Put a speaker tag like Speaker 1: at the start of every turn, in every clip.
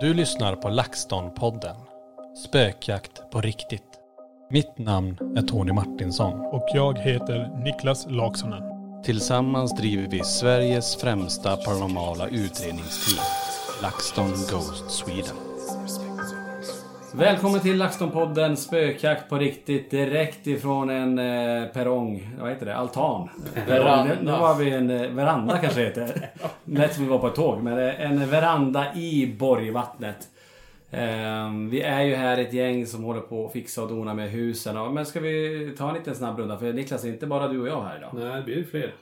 Speaker 1: Du lyssnar på LaxTon-podden. Spökjakt på riktigt. Mitt namn är Tony Martinsson.
Speaker 2: Och jag heter Niklas Laksonen.
Speaker 3: Tillsammans driver vi Sveriges främsta paranormala utredningsteam, LaxTon Ghost Sweden.
Speaker 4: Välkommen till LaxTon-podden Spökjakt på riktigt direkt ifrån en eh, perrong, vad heter det, altan. Perrong, nu- Nu var vi en eh, veranda kanske det heter. Lät som vi var på ett tåg men eh, en veranda i Borgvattnet. Eh, vi är ju här ett gäng som håller på att fixa och dona med husen. Ja, Men ska vi ta en liten snabb runda? För Niklas, är inte bara du och jag här idag.
Speaker 5: Nej, det blir fler.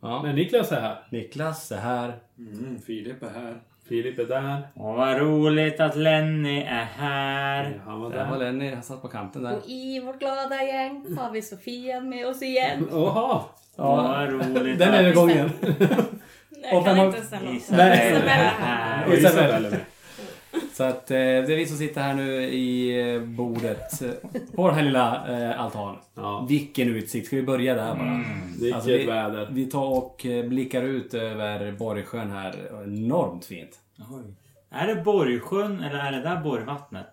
Speaker 4: Ja.
Speaker 5: Men Niklas är här.
Speaker 4: Niklas är här.
Speaker 5: Mm, Filip är här. Filip är där.
Speaker 6: Åh, vad roligt att Lenny är här.
Speaker 5: Han var
Speaker 4: Där var
Speaker 5: där.
Speaker 4: Lenny, han satt på kanten där.
Speaker 7: Och i vårt glada gäng har vi Sofia med oss igen.
Speaker 5: Jaha!
Speaker 6: Åh, vad roligt
Speaker 4: Den
Speaker 6: att
Speaker 4: övergången.
Speaker 7: Nej,
Speaker 4: Och
Speaker 7: jag
Speaker 4: vem
Speaker 7: kan
Speaker 4: har-
Speaker 7: inte ens den låten.
Speaker 6: Isabella
Speaker 4: Nej.
Speaker 6: är
Speaker 5: Och
Speaker 6: här.
Speaker 5: Isabelle är med.
Speaker 4: Så att eh, det är vi som sitter här nu i eh, bordet eh, på den här lilla eh, altanen.
Speaker 5: Ja. Mm,
Speaker 4: Vilken utsikt! Ska vi börja där bara?
Speaker 5: Vilket
Speaker 4: Alltså, vi-
Speaker 5: väder.
Speaker 4: Vi tar och eh, blickar ut över Borgsjön här. Enormt fint.
Speaker 6: Oj. Är det Borgsjön eller är det där Borgvattnet?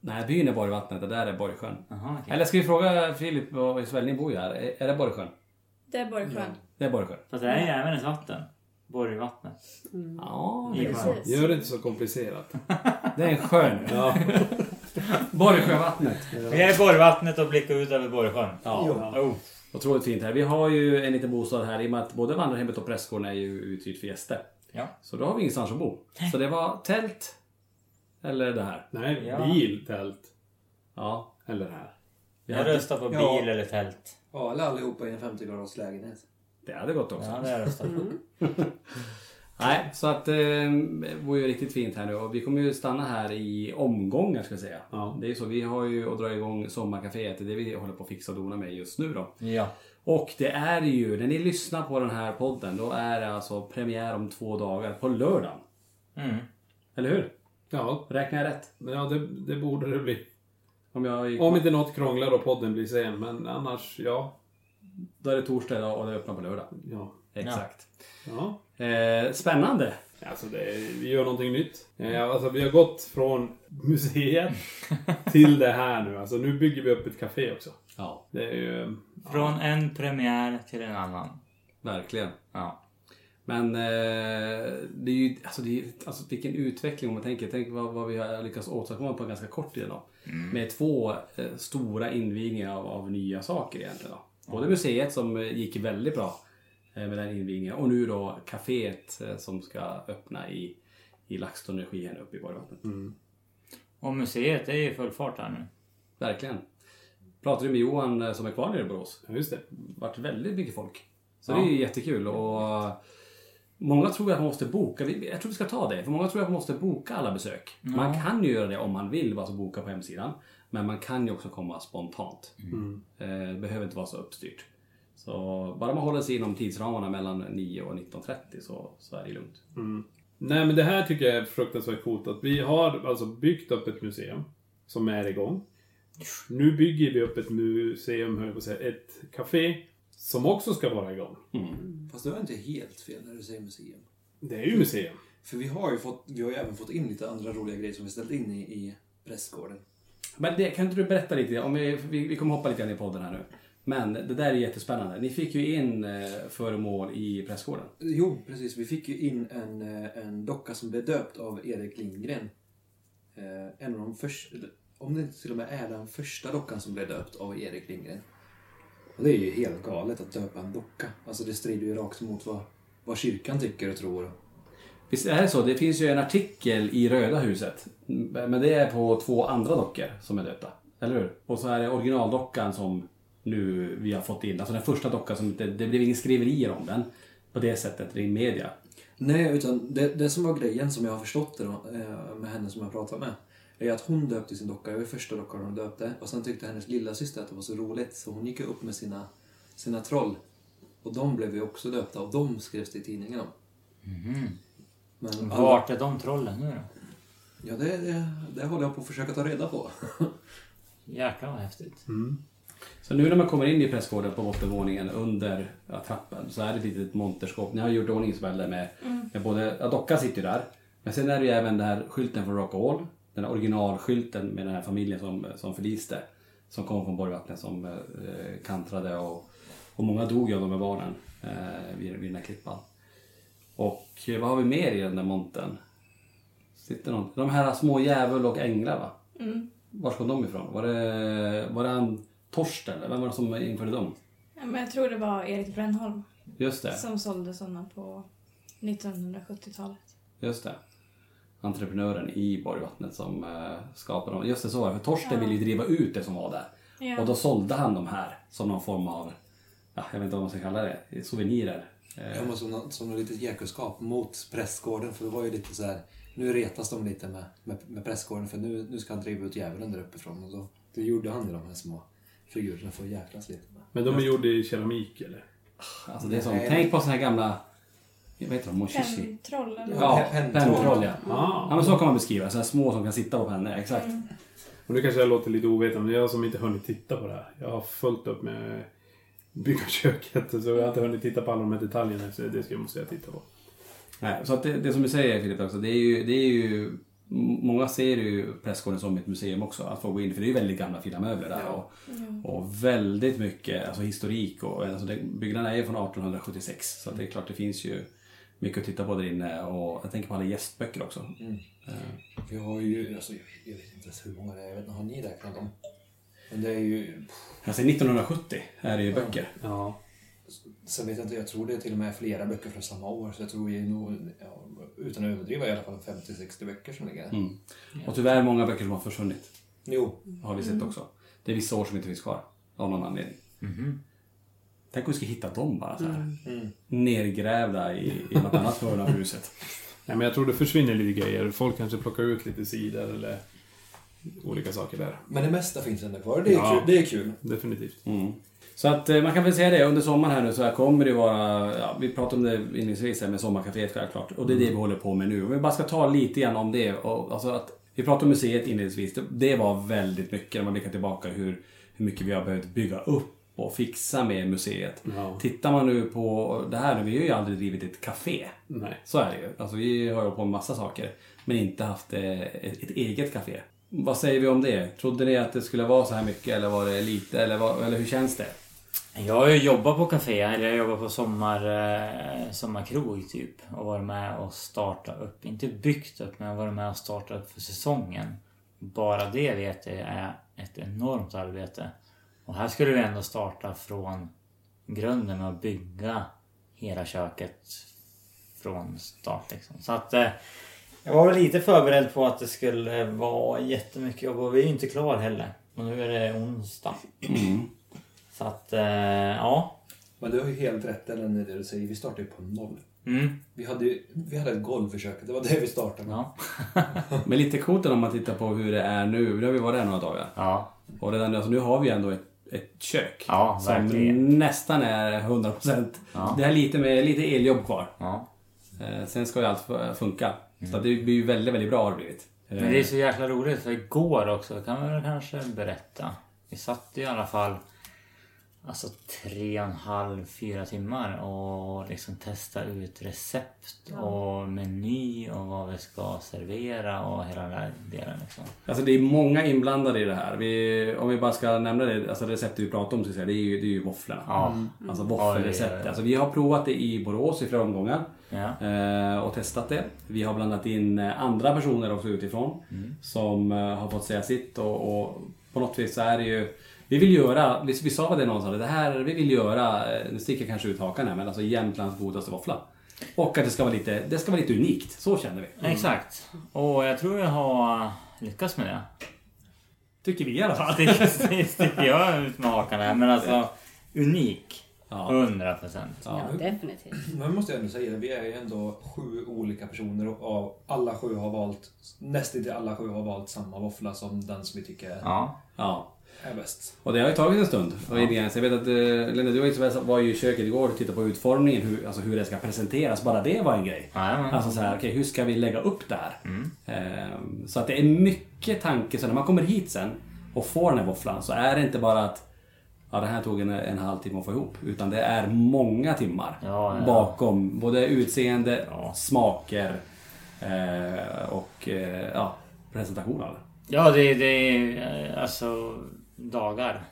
Speaker 4: Nej, byn är Borgvattnet. Det där är Borgsjön.
Speaker 6: Jaha, okej.
Speaker 4: Eller ska vi fråga Filip och Isabel, ni bor ju här. Är- Är det Borgsjön?
Speaker 7: Det är Borgsjön.
Speaker 4: Det är Borgsjön.
Speaker 6: Fast det är ju även ett vatten. Borgvattnet.
Speaker 4: Ja,
Speaker 6: I sjön.
Speaker 7: Precis.
Speaker 5: Gör det inte så komplicerat.
Speaker 4: det är en sjön.
Speaker 5: Ja.
Speaker 4: Borgsjövattnet.
Speaker 6: Vi är i Borgvattnet och blickar ut över Borgsjön.
Speaker 4: Ja.
Speaker 6: Oh.
Speaker 4: Otroligt fint här. Vi har ju en liten bostad här i och med att både vandrarhemmet och prästgården är ju uthyrt för gäster.
Speaker 6: Ja.
Speaker 4: Så då har vi ingenstans att bo. Så det var tält. Eller det här.
Speaker 5: Nej,
Speaker 6: Ja.
Speaker 5: bil, tält.
Speaker 4: Ja.
Speaker 5: Eller här.
Speaker 4: Vi
Speaker 6: Jag
Speaker 4: hade,
Speaker 6: röstar på bil
Speaker 8: Ja.
Speaker 6: eller tält.
Speaker 8: Ja, eller allihopa i en 50-graders lägenhet.
Speaker 4: det hade gått också.
Speaker 6: Ja, det har jag röstat på.
Speaker 5: Mm.
Speaker 4: Nej, så att eh, det vore ju riktigt fint här nu. Och vi kommer ju stanna här i omgångar ska jag säga.
Speaker 5: Ja.
Speaker 4: Det är ju så. Vi har ju att dra igång sommarkaféet. Det är det vi håller på att fixa och dona med just nu då.
Speaker 6: Ja.
Speaker 4: Och det är ju, när ni lyssnar på den här podden, då är det alltså premiär om två dagar på lördagen.
Speaker 6: Mm.
Speaker 4: Eller hur?
Speaker 5: Ja,
Speaker 4: Räknar jag rätt?
Speaker 5: men ja det, det borde det bli.
Speaker 4: Om jag gick...
Speaker 5: Om inte något krånglar och podden blir sen, men annars ja.
Speaker 4: Då är det torsdag idag och det öppnar på lördag.
Speaker 5: Ja.
Speaker 4: Exakt.
Speaker 5: ja.
Speaker 4: Eh, spännande!
Speaker 5: Alltså det, vi gör någonting nytt. Eh, Alltså vi har gått från museet till det här nu. Alltså nu bygger vi upp ett café också.
Speaker 4: Ja,
Speaker 5: Det är ju...
Speaker 6: Från en premiär till en annan.
Speaker 4: verkligen.
Speaker 6: Ja.
Speaker 4: Men eh, det är ju, alltså, det är, ju- alltså vilken utveckling om man tänker. Tänk vad, vad vi har lyckats åstadkomma på ganska kort tid idag. Med två eh, stora invigningar av, av nya saker egentligen. Då. Både museet som eh, gick väldigt bra eh, med den invigningen och nu då kaféet eh, som ska öppna i, i LaxTon Regi här uppe i Borgvattnet.
Speaker 6: Och museet är ju full fart här nu.
Speaker 4: Verkligen. pratade ju med Johan eh, som är kvar nere i Borås.
Speaker 5: Just det.
Speaker 4: Vart väldigt mycket folk. Så
Speaker 5: Ja.
Speaker 4: det är ju jättekul. Och många tror att man måste boka. Vi- Jag tror vi ska ta det. För många tror att man måste boka alla besök.
Speaker 5: Ja.
Speaker 4: Man kan ju göra det om man vill, alltså boka på hemsidan. Men man kan ju också komma spontant.
Speaker 5: Mm.
Speaker 4: Eh, Det behöver inte vara så uppstyrt. Så bara man håller sig inom tidsramarna mellan 9 och 19.30 så, så är det lugnt.
Speaker 5: Mm. Nej men det här tycker jag är fruktansvärt coolt. Att vi har alltså byggt upp ett museum som är igång. Nu bygger vi upp ett museum, höll jag på att säga, ett café som också ska vara igång.
Speaker 8: Fast det var inte helt fel när du säger museum.
Speaker 5: Det är ju museum.
Speaker 8: För vi har ju, fått, vi har ju även fått in lite andra roliga grejer som vi ställt in i, i prästgården.
Speaker 4: Men det, kan inte du berätta lite? Om vi, vi, vi kommer hoppa lite grann i podden här nu. Men det där är jättespännande. Ni fick ju in eh, föremål i prästgården.
Speaker 8: Jo, precis. Vi fick ju in en, eh, en docka som blev döpt av Erik Lindgren. Eh, En av de första, om det inte till och med är den första dockan som blev döpt av Erik Lindgren. Och det är ju helt galet att döpa en docka. Alltså det strider ju rakt emot vad, vad kyrkan tycker och tror.
Speaker 4: Visst är det så? Det finns ju en artikel i Röda huset. Men det är på två andra dockor som är döpta. Eller hur? Och så är det originaldockan som nu vi har fått in. Alltså den första dockan som inte, det blev inga skriverier om den. På det sättet i media.
Speaker 8: Nej, utan det, det som var grejen som jag har förstått det då, eh, med henne som jag pratat med. Är att hon döpte sin docka, det var första dockan hon döpte. Och sen tyckte hennes lilla syster att det var så roligt så hon gick ju upp med sina, sina troll. Och de blev ju också döpta och de skrevs det i tidningen om. Men alla-
Speaker 6: Vart är de trollen nu då?
Speaker 8: Ja, det, det, det håller jag på att försöka ta reda på.
Speaker 6: Jäklar vad häftigt.
Speaker 4: Så nu när man kommer in i prästgården på bottenvåningen under ja, trappen så är det ett litet monterskåp. Ni har gjort i ordning Isabelle med,
Speaker 5: Mm.
Speaker 4: med både, ja, dockan sitter ju där. Men sen är det ju även den här skylten från Rockall. Den här originalskylten med den här familjen som, som förliste. Som kom från Borgvattnet som eh, kantrade och, och många dog ju av de här barnen eh, vid, vid den här klippan. Och eh, vad har vi mer i den där montern? Sitter någon? De här små djävul och änglar va?
Speaker 7: Mm.
Speaker 4: Var kom de ifrån? Var det, var det han Torsten? eller Vem var det som införde dem?
Speaker 7: Ja, Men jag tror det var Erik Brännholm
Speaker 4: Just det,
Speaker 7: som sålde sådana på 1970-talet.
Speaker 4: just det. Entreprenören i Borgvattnet som eh, skapade dem. Just det, så var det. För Torsten ville ju driva ut det som var där.
Speaker 7: Ja.
Speaker 4: Och då sålde han de här som någon form av, ja, jag vet inte vad man ska kalla det, souvenirer. Eh,
Speaker 8: Jag måste som, nå- som något litet jäkelskap mot prästgården för det var ju lite så här. Nu retas de lite med, med, med prästgården för nu, nu ska han driva ut djävulen där uppifrån. Och då, då gjorde han ju de här små figurerna för att jäklas lite med.
Speaker 5: Men de är gjorda i keramik eller?
Speaker 4: Alltså det är som, tänk på såna här gamla, vad heter de? Mochishi?
Speaker 7: Pentroll eller
Speaker 4: Ja,
Speaker 5: Pentroll.
Speaker 4: pentroll ja.
Speaker 5: Ah.
Speaker 4: Ja men så kan man beskriva så här små som kan sitta på pennor, exakt.
Speaker 5: Och nu kanske jag låter lite ovetande, men jag som inte hunnit titta på det här. Jag har fullt upp med bygga köket, så jag har inte hunnit titta på alla de här detaljerna. Så det ska jag måste jag titta på.
Speaker 4: Nej, så att det, det som du säger Filip också, det är ju, det är ju m- Många ser ju prästgården som ett museum också, att få gå in, för det är ju väldigt gamla fina möbler där. Och, och väldigt mycket alltså historik. Och, alltså det, byggnaden är ju från 1876, så att det är klart det finns ju mycket att titta på där inne. Och jag tänker på alla gästböcker också.
Speaker 8: Mm. Vi har ju, alltså, jag, jag vet inte ens hur många det är, jag vet inte, har ni räknat dem? Men det är ju...
Speaker 4: Alltså 1970 är det ju böcker.
Speaker 5: Ja.
Speaker 8: Sen vet jag inte, jag tror det är till och med flera böcker från samma år. Så jag tror vi är nog, ja, utan att överdriva, i alla fall 50-60 böcker som ligger där.
Speaker 4: Mm. Och tyvärr många böcker som har försvunnit.
Speaker 8: Jo.
Speaker 4: Har vi sett
Speaker 8: Mm.
Speaker 4: också. Det är vissa år som inte finns kvar. Av någon anledning. Tänk om vi skulle hitta dem bara så här.
Speaker 8: Mm.
Speaker 4: Nergrävda i, i något annat hörn av huset.
Speaker 5: Nej, men jag tror det försvinner lite grejer. Folk kanske plockar ut lite sidor eller olika saker där.
Speaker 8: Men det mesta finns ändå kvar. Det är kul- det är kul.
Speaker 5: Definitivt.
Speaker 4: Så att eh, man kan väl säga det, under sommaren här nu så här kommer det vara, ja, vi pratade om det inledningsvis här med sommarkaféet självklart. Och det är
Speaker 5: Mm.
Speaker 4: det vi håller på med nu. Om vi bara ska ta lite grann om det. Och, alltså att, vi pratade om museet inledningsvis, det, det var väldigt mycket när man blickar tillbaka hur, hur mycket vi har behövt bygga upp och fixa med museet.
Speaker 5: Ja.
Speaker 4: Tittar man nu på det här, vi har ju aldrig drivit ett café.
Speaker 5: Nej.
Speaker 4: Så är det ju. Alltså, vi har ju på en massa saker. Men inte haft eh, ett, ett eget café. Vad säger vi om det? Trodde ni att det skulle vara så här mycket eller var det lite? Eller, vad, eller hur känns det?
Speaker 6: Jag har ju jobbat på café, eller jag jobbar på sommar, eh, sommarkrog typ. Och varit med och starta upp, inte byggt upp, men varit med och startat upp för säsongen. Bara det vet jag är ett enormt arbete. Och här skulle vi ändå starta från grunden med att bygga hela köket från start liksom. Så att eh, jag var väl lite förberedd på att det skulle vara jättemycket jobb och vi är ju inte klar heller. Och nu är det onsdag. Så att, eh, ja.
Speaker 8: Men du har ju helt rätt Ellen i det du säger. Vi startade ju på noll.
Speaker 6: Mm.
Speaker 8: Vi, hade ju, vi hade ett golvförsök. Det var det vi startade med.
Speaker 4: Men lite coolt om man tittar på hur det är nu. Nu har vi varit där några dagar.
Speaker 6: Ja.
Speaker 4: Och redan, alltså, nu har vi ändå ett, ett kök.
Speaker 6: Ja,
Speaker 4: som
Speaker 6: verkligen.
Speaker 4: nästan är 100%.
Speaker 6: Ja.
Speaker 4: Det är lite, med, lite eljobb kvar.
Speaker 6: Ja.
Speaker 4: Eh, sen ska ju allt eh, funka. Så att det blir ju väldigt, väldigt bra har det blivit. Eh,
Speaker 6: Men det är så jäkla roligt för igår också kan vi väl kanske berätta. Vi satt i alla fall alltså tre och en halv, fyra timmar och liksom testa ut recept
Speaker 4: Ja.
Speaker 6: och meny och vad vi ska servera och hela den där delen liksom.
Speaker 4: Alltså det är många inblandade i det här. Vi, om vi bara ska nämna det, alltså receptet vi pratar om så att säga, det är ju, det är ju våfflorna.
Speaker 6: Ja.
Speaker 4: Alltså
Speaker 6: Mm.
Speaker 4: våffelrecept.
Speaker 6: Ja, ja, ja.
Speaker 4: Alltså vi har provat det i Borås i flera omgångar.
Speaker 6: Ja.
Speaker 4: eh, Och testat det. Vi har blandat in eh, andra personer också utifrån.
Speaker 6: Mm.
Speaker 4: Som eh, har fått säga sitt och, och på något vis så är det ju vi vill göra, vi, vi sa väl det någonstans, det här vi vill göra, eh, nu sticker jag kanske ut hakan här, men alltså Jämtlands godaste våffla. Och att det ska vara lite, det ska vara lite unikt, så känner vi.
Speaker 8: Mm.
Speaker 6: Exakt. Och jag tror jag har lyckats med det.
Speaker 4: Tycker vi i alla fall.
Speaker 6: Sticker, sticker jag ut med hakan här. Men alltså unik.
Speaker 4: Ja.
Speaker 6: 100%.
Speaker 7: Ja, definitivt.
Speaker 8: Men måste jag ändå säga, vi är ju ändå sju olika personer och av alla sju har valt, nästintill alla sju har valt samma våffla som den som vi tycker är,
Speaker 6: Ja.
Speaker 4: Ja.
Speaker 8: är bäst.
Speaker 4: Och det har ju tagit en stund. Ja. Jag vet att eh, Lena, du och Isabel var ju i köket igår och tittade på utformningen, hur, alltså hur det ska presenteras. Bara det var en grej.
Speaker 6: Jajamän.
Speaker 4: Alltså så här, okej, hur ska vi lägga upp det här?
Speaker 6: Mm.
Speaker 4: Ehm, Så att det är mycket tanke. Så när man kommer hit sen och får den här våfflan så är det inte bara att ja, det här tog en, en halvtimme att få ihop. Utan det är många timmar
Speaker 6: ja, ja.
Speaker 4: bakom både utseende,
Speaker 6: Ja.
Speaker 4: smaker eh, och eh, ja, presentation av det.
Speaker 6: Ja, det, det är eh, alltså dagar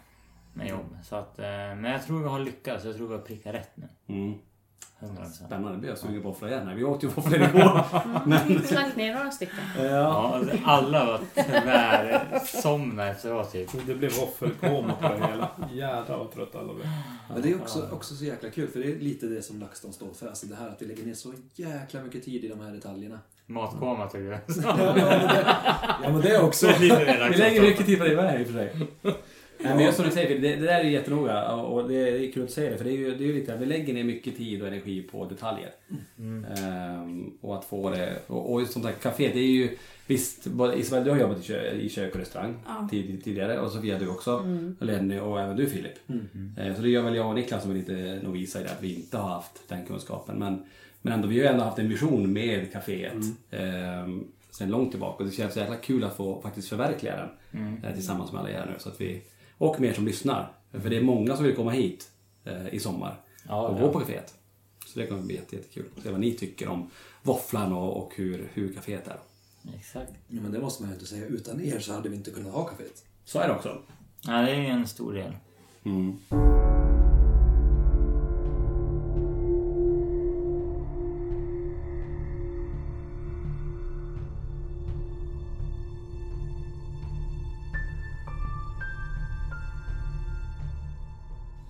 Speaker 6: med jobb. Så att, eh, men jag tror vi har lyckats. Jag tror vi har prickat rätt nu.
Speaker 4: Mm.
Speaker 6: 100 procent.
Speaker 4: Spännande, nu blir jag sugen på våfflor igen. här. Vi åt ju våfflor igår. Men,
Speaker 7: Slank ner några stycken.
Speaker 6: Ja, alltså, alla var tyvärr somna efteråt typ.
Speaker 5: Det blev våffelkoma på det hela. Jädrar vad trött alla blev.
Speaker 8: Men det är också, också så jäkla kul för det är lite det som LaxTon står för. Alltså det här att vi lägger ner så jäkla mycket tid i de här detaljerna.
Speaker 6: Matkoma tog jag.
Speaker 8: Ja men det också.
Speaker 6: Lite mer
Speaker 4: vi
Speaker 6: laxat.
Speaker 4: lägger mycket tid på det med i och för sig. Nej, men just som du säger, Filip, det, det där är ju jättenoga och det är, det är kul att säga det. För det är ju, det är ju lite, att vi lägger ner mycket tid och energi på detaljer.
Speaker 8: Mm.
Speaker 4: Ehm, och att få det, och, och just som sagt caféet, det är ju Visst, både Isabel du har jobbat i kö- i kök och restaurang
Speaker 7: Ja.
Speaker 4: tid, tidigare och Sofia du också. Lenny och även du Filip. Ehm, Så det gör väl jag och Niklas som är lite novisa i det att vi inte har haft den kunskapen. Men, men ändå, vi har ju ändå haft en vision med caféet ehm, sedan långt tillbaka och det känns så jäkla kul att få faktiskt förverkliga den eh, tillsammans med alla er nu. Så att vi, och med er som lyssnar. För det är många som vill komma hit eh, i sommar
Speaker 6: Ja,
Speaker 4: och
Speaker 6: ja.
Speaker 4: gå på caféet. Så det kommer bli jätte- jättekul. Se vad ni tycker om våfflan och, och hur, hur caféet är.
Speaker 6: Exakt.
Speaker 8: Ja, men det måste man ju inte säga. Utan er så hade vi inte kunnat ha kaféet.
Speaker 4: Så är det också.
Speaker 6: Ja, det är ju en stor del.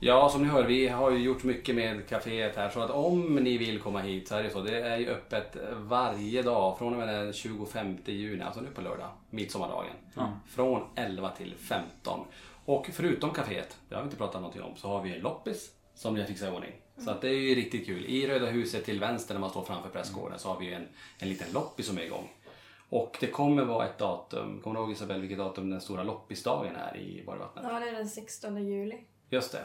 Speaker 4: Ja, som ni hör, vi har ju gjort mycket med kaféet här. Så att om ni vill komma hit så är det så. Det är ju öppet varje dag från och med den 25 juni, alltså nu på lördag, midsommardagen. Från 11 till 15. Och förutom kaféet, det har vi inte pratat någonting om, så har vi en loppis som vi har fixat i ordning. Så att det är ju riktigt kul. I Röda huset till vänster när man står framför pressgården så har vi ju en, en liten loppis som är igång. Och det kommer vara ett datum, kommer du ihåg Isabel vilket datum den stora loppisdagen är i Borgvattnet?
Speaker 7: Ja, det är den 16 juli.
Speaker 4: Just det.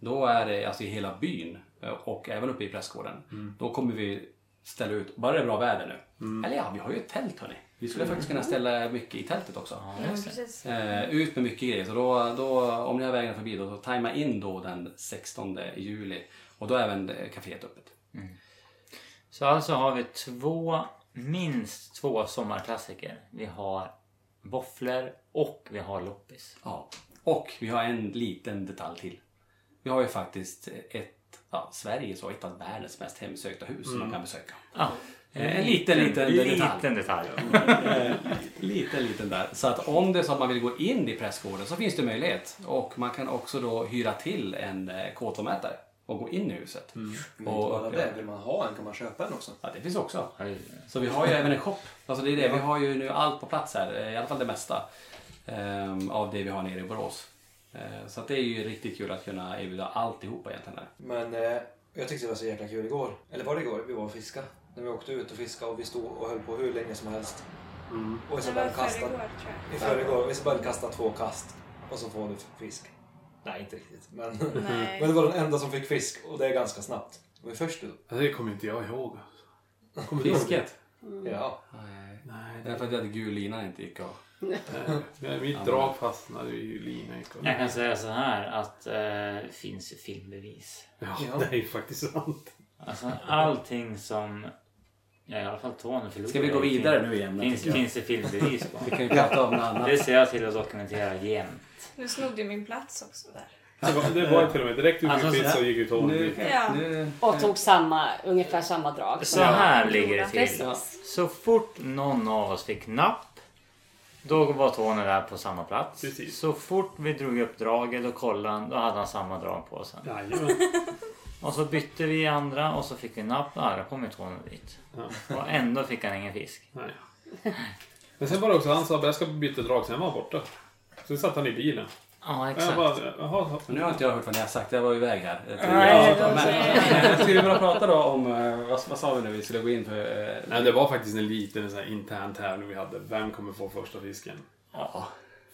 Speaker 4: Då är det alltså i hela byn eh, och även uppe i prästgården. Då kommer vi ställa ut, bara det är bra väder nu. Eller ja, vi har ju ett tält hörni. Vi skulle faktiskt kunna ställa mycket i tältet också.
Speaker 7: Ja, precis.
Speaker 4: Eh, ut med mycket grejer. Så då, då, om ni har vägen förbi då, så tajma in då den 16 juli. Och då är även eh, kaféet öppet.
Speaker 6: Så alltså har vi två, minst två sommarklassiker. Vi har våfflor och vi har loppis.
Speaker 4: Ja. Och vi har en liten detalj till. Vi har ju faktiskt ett, ja, Sveriges och ett av världens mest hemsökta hus som man kan besöka.
Speaker 6: Ja,
Speaker 4: Eh, En liten, liten, detalj.
Speaker 6: liten detalj.
Speaker 4: Eh, liten, liten där. Så att om det är så att man vill gå in i prästgården så finns det möjlighet. Och man kan också då hyra till en eh, K2-mätare och gå in i huset.
Speaker 8: Men inte
Speaker 4: Och,
Speaker 8: bara
Speaker 4: uppleva-
Speaker 8: det. Vill man ha en kan man köpa en också.
Speaker 4: ja, det finns också. Så vi har ju även en shop. Alltså det är det. Vi har ju nu allt på plats här, eh, i alla fall det mesta. ehm, av det vi har nere i Borås. Eh, Så att det är ju riktigt kul att kunna erbjuda alltihopa egentligen. Här.
Speaker 8: Men eh, jag tyckte det var så jäkla kul igår. Eller var det igår? Vi var och fiska. När vi åkte ut och fiskade och vi stod och höll på hur länge som helst.
Speaker 4: Mm.
Speaker 8: Och
Speaker 7: Det
Speaker 8: så
Speaker 7: var
Speaker 8: bara
Speaker 7: i förrgår,
Speaker 8: kastade.
Speaker 7: tror jag.
Speaker 8: I förrgår. Vi så bara kastade två kast. Och så får du fisk. Nej, inte riktigt. Men,
Speaker 7: Nej.
Speaker 8: men det var den enda som fick fisk och det är ganska snabbt. Det var ju först ut.
Speaker 5: Det kommer inte jag ihåg. alltså. Kommer du ihåg
Speaker 4: Fisket?
Speaker 8: det? Ja.
Speaker 4: Nej. Nej, därför att vi hade gul lina inte gick av.
Speaker 5: Nej, mitt drag fastnade i linan.
Speaker 6: Jag kan säga så här att eh, det finns ju filmbevis.
Speaker 5: Ja, det är ju faktiskt sant.
Speaker 6: Alltså allting som... Ja, i alla fall Tony förlorade.
Speaker 4: Ska vi gå vidare nu igen,
Speaker 6: Finns,
Speaker 4: tycker jag?
Speaker 6: finns det filmbevis på.
Speaker 4: Vi kan ju prata om något annat.
Speaker 6: Det ser jag till att dokumentera jämt.
Speaker 7: Nu snodde du min plats också där.
Speaker 5: Det var, det var till och med direkt ut
Speaker 6: Alltså,
Speaker 5: ur pizza och gick ut och
Speaker 4: nu-
Speaker 7: Ja.
Speaker 9: Och tog samma, ungefär samma drag.
Speaker 6: Så här ligger det
Speaker 9: Precis.
Speaker 6: till. Så fort någon av oss fick napp då var Tony där på samma plats. Så fort vi drog upp draget och kollade han, då hade han samma drag på sig. Och så bytte vi andra och så fick vi napp. Ja, då kom ju Tony dit. Och ändå fick han ingen fisk.
Speaker 5: Men sen var det också han sa att jag ska byta drag, sen var han borta. Så satt han i bilen.
Speaker 6: Ja,
Speaker 5: Jag bara, jaha.
Speaker 4: Men nu har inte jag hört vad ni har sagt, jag var iväg här.
Speaker 5: Nej,
Speaker 4: Men-
Speaker 5: det-
Speaker 4: men Skulle vi bara prata då om, eh, vad, vad sa vi nu, vi skulle gå in på... eh,
Speaker 5: Nej, det var faktiskt en liten en sån här intern tävling vi hade. Vem kommer få första fisken? Ja.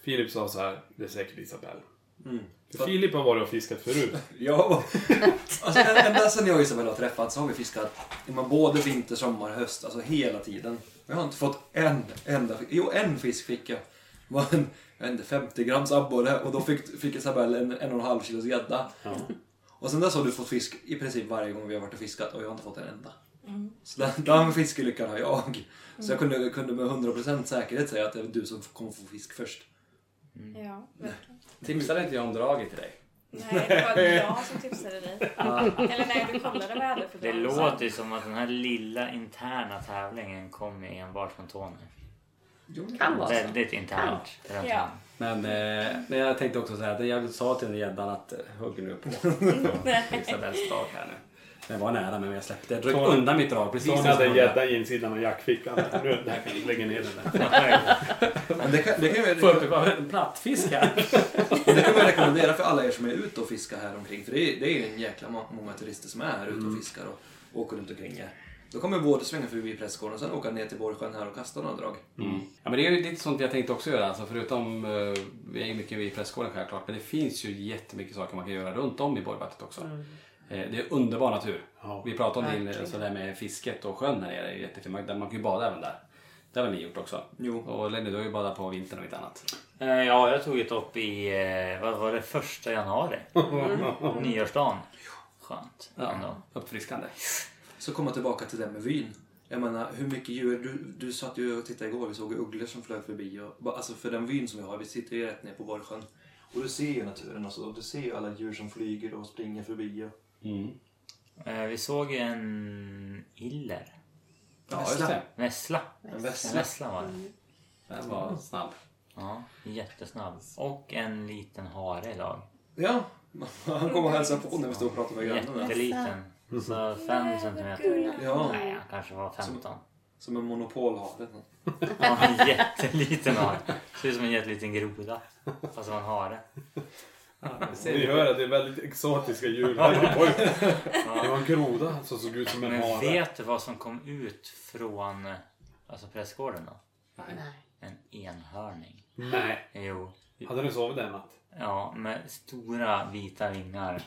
Speaker 5: Filip sa så här, det är säkert Isabelle.
Speaker 8: Mm.
Speaker 5: För Filip har varit och fiskat förut.
Speaker 8: Ja. Alltså, ända sedan jag och Isabella har träffats så har vi fiskat men både vinter, sommar, höst. Alltså hela tiden. Jag har inte fått en enda fisk. Jo, en fisk fick jag. Det var en, jag vet inte, 50 grams abborre och då fick, fick Isabella en, en och en halv kilos gädda. Och sen dess har du fått fisk i princip varje gång vi har varit och fiskat och jag har inte fått en enda.
Speaker 7: Mm.
Speaker 8: Så den, den fiskelyckan har jag. Så jag kunde, kunde med 100% säkerhet säga att det är du som kommer få fisk först.
Speaker 7: Mm. Ja, verkligen.
Speaker 4: Tipsade inte jag om draget till dig?
Speaker 7: Nej, det var jag som tipsade dig.
Speaker 6: Ja.
Speaker 7: Eller nej, du kollade väl för
Speaker 6: Det
Speaker 7: dagen
Speaker 6: låter ju som att den här lilla interna tävlingen kom enbart från Tony.
Speaker 9: Kan
Speaker 4: Alltså.
Speaker 9: vara så.
Speaker 6: Väldigt internt.
Speaker 9: Kan. Ja.
Speaker 4: Men, eh, men jag tänkte också säga att jag sa till den gäddan att eh, hugg nu på Isabells drag här nu. Den var nära men jag släppte. Jag drog
Speaker 5: Tony-
Speaker 4: undan mitt drag precis.
Speaker 5: Tony
Speaker 4: som jag
Speaker 5: hade en
Speaker 4: skulle.
Speaker 5: gädda i insidan av jackfickan. Nu, det här kan jag lägga ner den
Speaker 8: Men det kan, det kan ju...
Speaker 4: Får upp en plattfisk här.
Speaker 8: det kan man rekommendera för alla er som är ute och fiskar här omkring. För det är, det är ju en jäkla ma- många turister som är här ute
Speaker 4: Mm.
Speaker 8: och fiskar och åker runt omkring här. Då kommer både svänga förbi Prästgården och sen åka ner till Borgsjön här och kasta några drag.
Speaker 4: Mm. Ja, men det är ju lite sånt jag tänkte också göra. Alltså förutom, eh, vi är ju mycket i pressgården självklart, men det finns ju jättemycket saker man kan göra runt om i Borgvattnet också.
Speaker 5: Mm.
Speaker 4: Eh, Det är underbar natur. Vi pratade om det,
Speaker 5: Verkligen.
Speaker 4: alltså det här med fisket och sjön här nere. Det är jättefint. Man, där- man kan ju bada även där. Det har väl ni gjort också?
Speaker 8: Jo.
Speaker 4: Och Lenny, du har ju badat på vintern och inte annat.
Speaker 6: Eh, Ja, jag tog ett upp i, eh, vad var det, första januari?
Speaker 4: Mm.
Speaker 6: Nyårsdagen. Skönt.
Speaker 8: Ja,
Speaker 4: uppfriskande.
Speaker 8: Så komma tillbaka till det med vyn. Jag menar, hur mycket djur... Du, du satt ju och tittade igår, vi såg ju ugglor som flög förbi. Och, bara- alltså för den vyn som vi har, vi sitter ju rätt ner på Borgsjön. Och du ser ju naturen och så, och du ser ju alla djur som flyger och springer förbi. Och...
Speaker 6: Eh, Vi såg ju en iller.
Speaker 8: Ja, just det.
Speaker 6: Vessla.
Speaker 8: En
Speaker 6: Vessla.
Speaker 8: vessla.
Speaker 6: En vessla var det.
Speaker 8: Mm.
Speaker 4: Den var snabb.
Speaker 6: Ja, jättesnabb. Och en liten hare idag.
Speaker 8: Ja, han kom och hälsade på när vi stod och pratade med grannen.
Speaker 6: Jätteliten. Så fem centimeter.
Speaker 8: Ja.
Speaker 6: Nej, han kanske var 15.
Speaker 8: Som en monopolhare.
Speaker 6: Ja, en jätteliten hare. Ser ut som en jätteliten groda. Fast det var en hare.
Speaker 5: Ni hör att det är väldigt exotiska djur. här. Oj. Det var en groda som såg ut som en
Speaker 6: Men
Speaker 5: hare.
Speaker 6: vet du vad som kom ut från eh, alltså prästgården då?
Speaker 5: Nej.
Speaker 6: En enhörning.
Speaker 5: Nej.
Speaker 6: Jo.
Speaker 5: Hade du sovit en natt?
Speaker 6: Ja, med stora vita vingar.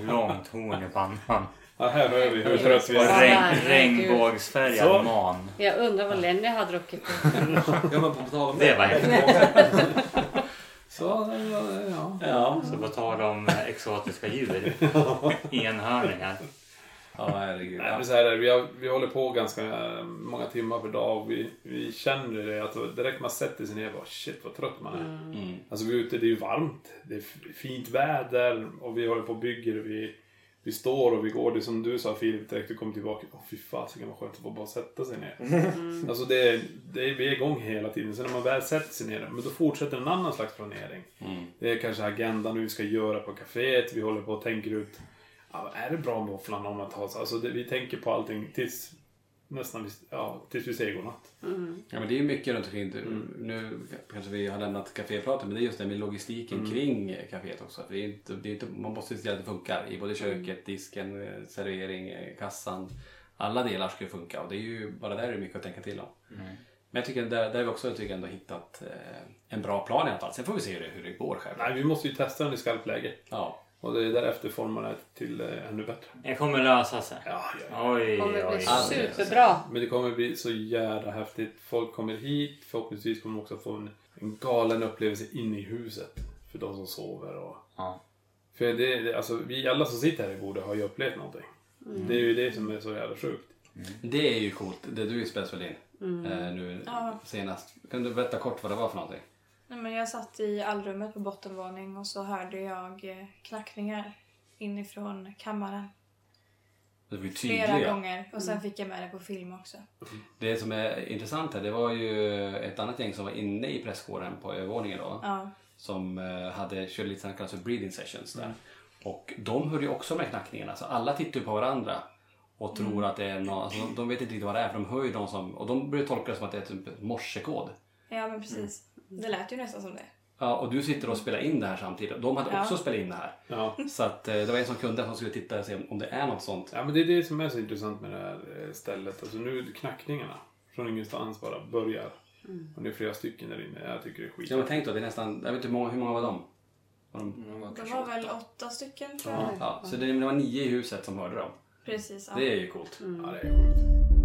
Speaker 6: Långt horn i pannan.
Speaker 5: Ja, här hör vi hur trött vi är.
Speaker 6: Och regn,
Speaker 9: Herregud.
Speaker 5: Så.
Speaker 6: regnbågsfärgad man.
Speaker 9: Jag undrar vad Lenny har druckit.
Speaker 8: Ja, men på tal om
Speaker 6: Det var
Speaker 9: inte.
Speaker 5: Så, ja.
Speaker 6: Ja, så på tal om eh, exotiska djur. Enhörningar.
Speaker 4: Ja, herregud.
Speaker 5: Nej, men så här är det. vi, har, vi håller på ganska eh, många timmar per dag och vi, vi känner det att direkt man sätter sig ner bara shit vad trött man är.
Speaker 4: Mm.
Speaker 5: Alltså vi är ute, det är ju varmt, det är f- fint väder och vi håller på och bygger och vi, vi står och vi går. Det är som du sa Filip direkt du kom tillbaka. Åh fy fasiken vad skönt att få bara sätta sig ner.
Speaker 6: Mm.
Speaker 5: Alltså det, är- det, är- vi är igång hela tiden. Sen när man väl sätter sig ner, men då fortsätter en annan slags planering.
Speaker 4: Mm.
Speaker 5: Det är kanske agendan hur vi ska göra på kaféet. Vi håller på och tänker ut. Ja, är det bra våfflan om att ha så? Alltså det, vi tänker på allting tills Nästan visst, ja, tills vi säger godnatt.
Speaker 9: Mm.
Speaker 4: Ja, men det är ju mycket runt omkring. Nu kanske vi har lämnat kafépratet, men det är just det med logistiken
Speaker 5: Mm.
Speaker 4: kring kaféet också. För det är inte, det är inte, man måste ju se till att det funkar i både
Speaker 5: Mm.
Speaker 4: köket, disken, eh, servering, eh, kassan. Alla delar ska ju funka och det är ju bara där det är mycket att tänka till om.
Speaker 6: Mm.
Speaker 4: Men jag tycker där, där har vi också jag tycker ändå hittat eh, en bra plan i alla fall. Sen får vi se hur det, hur det går själv.
Speaker 5: Nej, vi måste ju testa den i skarpt läge.
Speaker 4: Ja.
Speaker 5: Och det är därefter formar det till eh, ännu bättre.
Speaker 6: Det kommer lösa sig.
Speaker 5: Ja, ja,
Speaker 6: Oj,
Speaker 9: Kommer bli oj, oj. superbra.
Speaker 5: Men det kommer bli så jävla häftigt. Folk kommer hit. Förhoppningsvis kommer de också få en, en galen upplevelse inne i huset. För de som sover och... För det, det, alltså, vi alla som sitter här i bordet har ju upplevt någonting.
Speaker 9: Mm.
Speaker 5: Det är ju det som är så jävla sjukt.
Speaker 4: Det är ju coolt. Det du spelar väl in
Speaker 10: Mm.
Speaker 4: eh, nu
Speaker 10: Ja.
Speaker 4: senast. Kan du berätta kort vad det var för någonting?
Speaker 10: Nej, men jag satt i allrummet på bottenvåning och så hörde jag eh, knackningar inifrån kammaren.
Speaker 4: Det var ju
Speaker 10: Flera
Speaker 4: tydliga.
Speaker 10: gånger. Och
Speaker 5: Mm.
Speaker 10: sen fick jag med det på film också.
Speaker 4: Det som är intressant här, det var ju ett annat gäng som var inne i presskåren på övervåningen då.
Speaker 10: Ja.
Speaker 4: Som eh, hade körde lite sådana kallas för breathing sessions där. Och de hörde ju också de här knackningarna. Så alla tittar ju på varandra och tror
Speaker 10: Mm.
Speaker 4: att det är någon, alltså, de- de vet inte riktigt vad det är för de hör ju de som, och de börjar tolka det som att det är typ ett morsekod.
Speaker 10: Ja men precis. Det lät ju nästan som det.
Speaker 4: Ja, och du sitter och spelar in det här samtidigt. De hade
Speaker 10: Ja.
Speaker 4: också spelat in det här. Så att, eh, det var en som kunde som skulle titta och se om- om det är något sånt.
Speaker 5: Ja, men det är det som är så intressant med det här eh, stället. Alltså nu knackningarna från ingenstans bara börjar.
Speaker 4: Mm.
Speaker 5: Och det är flera stycken där inne. Jag tycker det är skit.
Speaker 4: Ja, men tänk då, det är nästan, jag vet inte hur många, hur många var de? Var de?
Speaker 10: Det var väl åtta stycken tror
Speaker 4: Ja,
Speaker 10: jag.
Speaker 4: ja, så det, det var nio i huset som hörde dem.
Speaker 10: Precis. Ja.
Speaker 4: Det är ju coolt.
Speaker 10: Mm.
Speaker 4: Ja, det är coolt.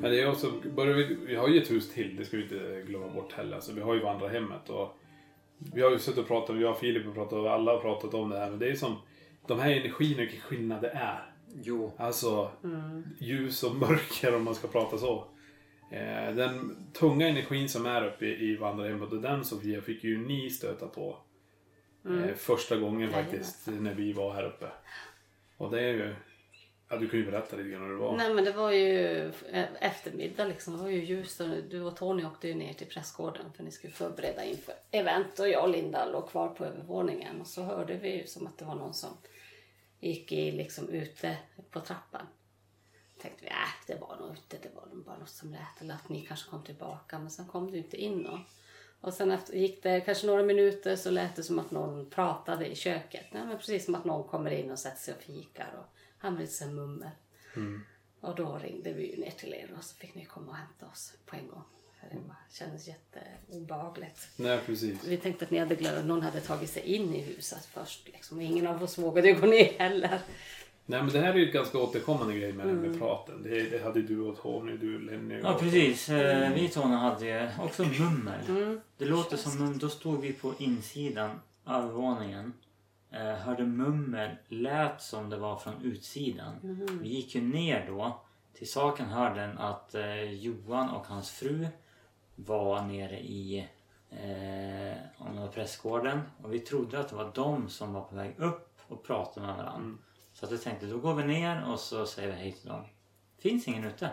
Speaker 5: Men det är också, börjar vi, vi har ju ett hus till, det ska vi inte glömma bort heller. Alltså, vi har ju vandrarhemmet och vi har ju suttit och pratat, jag och Filip har pratat och alla har pratat om det här. Men det är som, de här energierna, vilken skillnad det är.
Speaker 11: Jo.
Speaker 5: Alltså,
Speaker 11: Mm.
Speaker 5: ljus och mörker om man ska prata så. Eh, den tunga energin som är uppe i, i vandrarhemmet och den Sofia fick ju ni stöta på. Eh,
Speaker 11: Mm.
Speaker 5: första gången
Speaker 11: Jajamän.
Speaker 5: faktiskt, när vi var här uppe. Och det är ju, ja du kan ju berätta lite grann hur det var.
Speaker 9: Nej men det var ju eh, eftermiddag liksom. Det var ju ljust och du och Tony åkte ju ner till pressgården för ni skulle förbereda inför event och jag och Linda låg kvar på övervåningen och så hörde vi ju som att det var någon som gick i liksom ute på trappan. Tänkte vi, äh, det var nog ute, det var nog bara något som lät eller att ni kanske kom tillbaka men sen kom du inte in någon. Och sen efter, gick det kanske några minuter så lät det som att någon pratade i köket. Nej, men precis som att någon kommer in och sätter sig och fikar och han blir lite mummel. Och då ringde vi ju ner till er och så fick ni komma och hämta oss på en gång. För Det bara kändes jätteobehagligt.
Speaker 5: Nej precis.
Speaker 9: Vi tänkte att ni hade glömt, någon hade tagit sig in i huset först. Liksom. Och Ingen av oss vågade ju gå ner heller.
Speaker 5: Nej men det här är ju ett ganska återkommande grej med, med
Speaker 9: Mm.
Speaker 5: praten. Det, det hade du och Tony, du Lenny och...
Speaker 6: Ja precis. Eh, Vi Tony hade ju också mummel.
Speaker 9: Mm.
Speaker 6: Det låter som mum. Då stod vi på insidan, övervåningen. eh, Hörde mummel, lät som det var från utsidan.
Speaker 9: Mhm.
Speaker 6: Vi gick ju ner då. Till saken hör den att eh, Johan och hans fru var nere i eh, om det var prästgården. Och vi trodde att det var de som var på väg upp och pratade med varandra. Så att jag tänkte då går vi ner och så säger vi hej till dem. Finns ingen ute.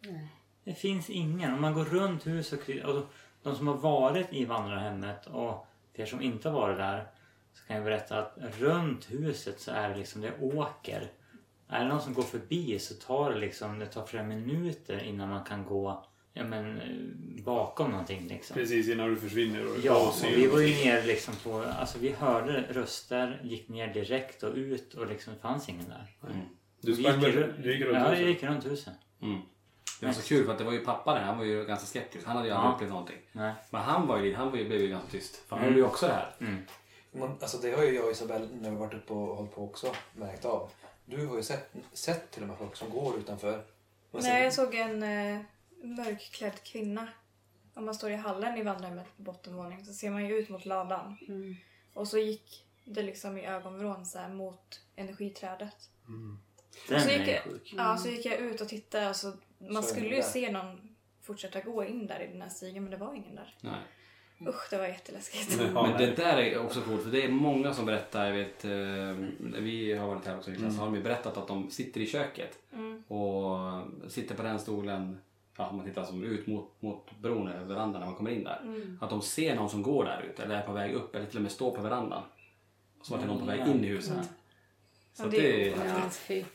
Speaker 9: Nej.
Speaker 6: Det finns ingen. Om man går runt huset och, kry- och de som har varit i vandrarhemmet och för er som inte har varit där Så kan jag berätta att runt huset så är det liksom, det åker. Är det någon som går förbi så tar det liksom, det tar flera minuter innan man kan gå ja, men, eh, bakom någonting liksom.
Speaker 5: Precis innan du försvinner. Och
Speaker 6: Ja,
Speaker 5: och
Speaker 6: och vi var ju ner liksom på, alltså vi hörde röster, gick ner direkt och ut och liksom det fanns ingen där.
Speaker 5: Du
Speaker 6: Vi
Speaker 5: sprang
Speaker 6: gick
Speaker 5: väl-
Speaker 6: ru-
Speaker 5: du gick runt
Speaker 6: Ja,
Speaker 5: huset?
Speaker 6: jag gick runt huset.
Speaker 4: Det var så kul för att det var ju pappa där, han var ju ganska skeptisk. Han hade ju aldrig
Speaker 6: Ja.
Speaker 4: upplevt någonting.
Speaker 6: Nej.
Speaker 4: Men han var ju, han var ju, blev ju ganska tyst. För han
Speaker 6: Mm.
Speaker 4: höll ju också det här.
Speaker 8: Man, alltså det har ju jag och Isabel när vi varit uppe och hållit på också märkt av. Du har ju sett, sett till och med folk som går utanför. Men sen-
Speaker 10: Nej, jag såg en eh, mörkklädd kvinna. Om man står i hallen i vandrarhemmet på bottenvåningen så ser man ju ut mot ladan. Och så gick det liksom i ögonvrån så här mot energiträdet.
Speaker 6: Mm. Den
Speaker 10: så
Speaker 6: är
Speaker 10: gick, jag-
Speaker 6: sjuk.
Speaker 10: Ja, så gick jag ut och tittade och så, man
Speaker 6: Så är
Speaker 10: skulle
Speaker 6: det
Speaker 10: ju
Speaker 6: där.
Speaker 10: se någon fortsätta gå in där i den här stigen men det var ingen där.
Speaker 4: Nej.
Speaker 10: Usch, det var jätteläskigt.
Speaker 4: Men det där är också coolt för det är många som berättar, jag vet, eh, vi har varit här också
Speaker 6: Mm.
Speaker 4: Niklas, så har de ju berättat att de sitter i köket
Speaker 10: Mm.
Speaker 4: och sitter på den stolen, ja, om man tittar som ut mot, mot bron, eller verandan när man kommer in där.
Speaker 10: Mm.
Speaker 4: Att de ser någon som går där ute eller är på väg upp eller till och med står på verandan. Som att det är någon på väg
Speaker 8: Mm.
Speaker 4: in i huset.
Speaker 8: Mm.
Speaker 4: Så att det är
Speaker 8: Ja,
Speaker 4: häftigt.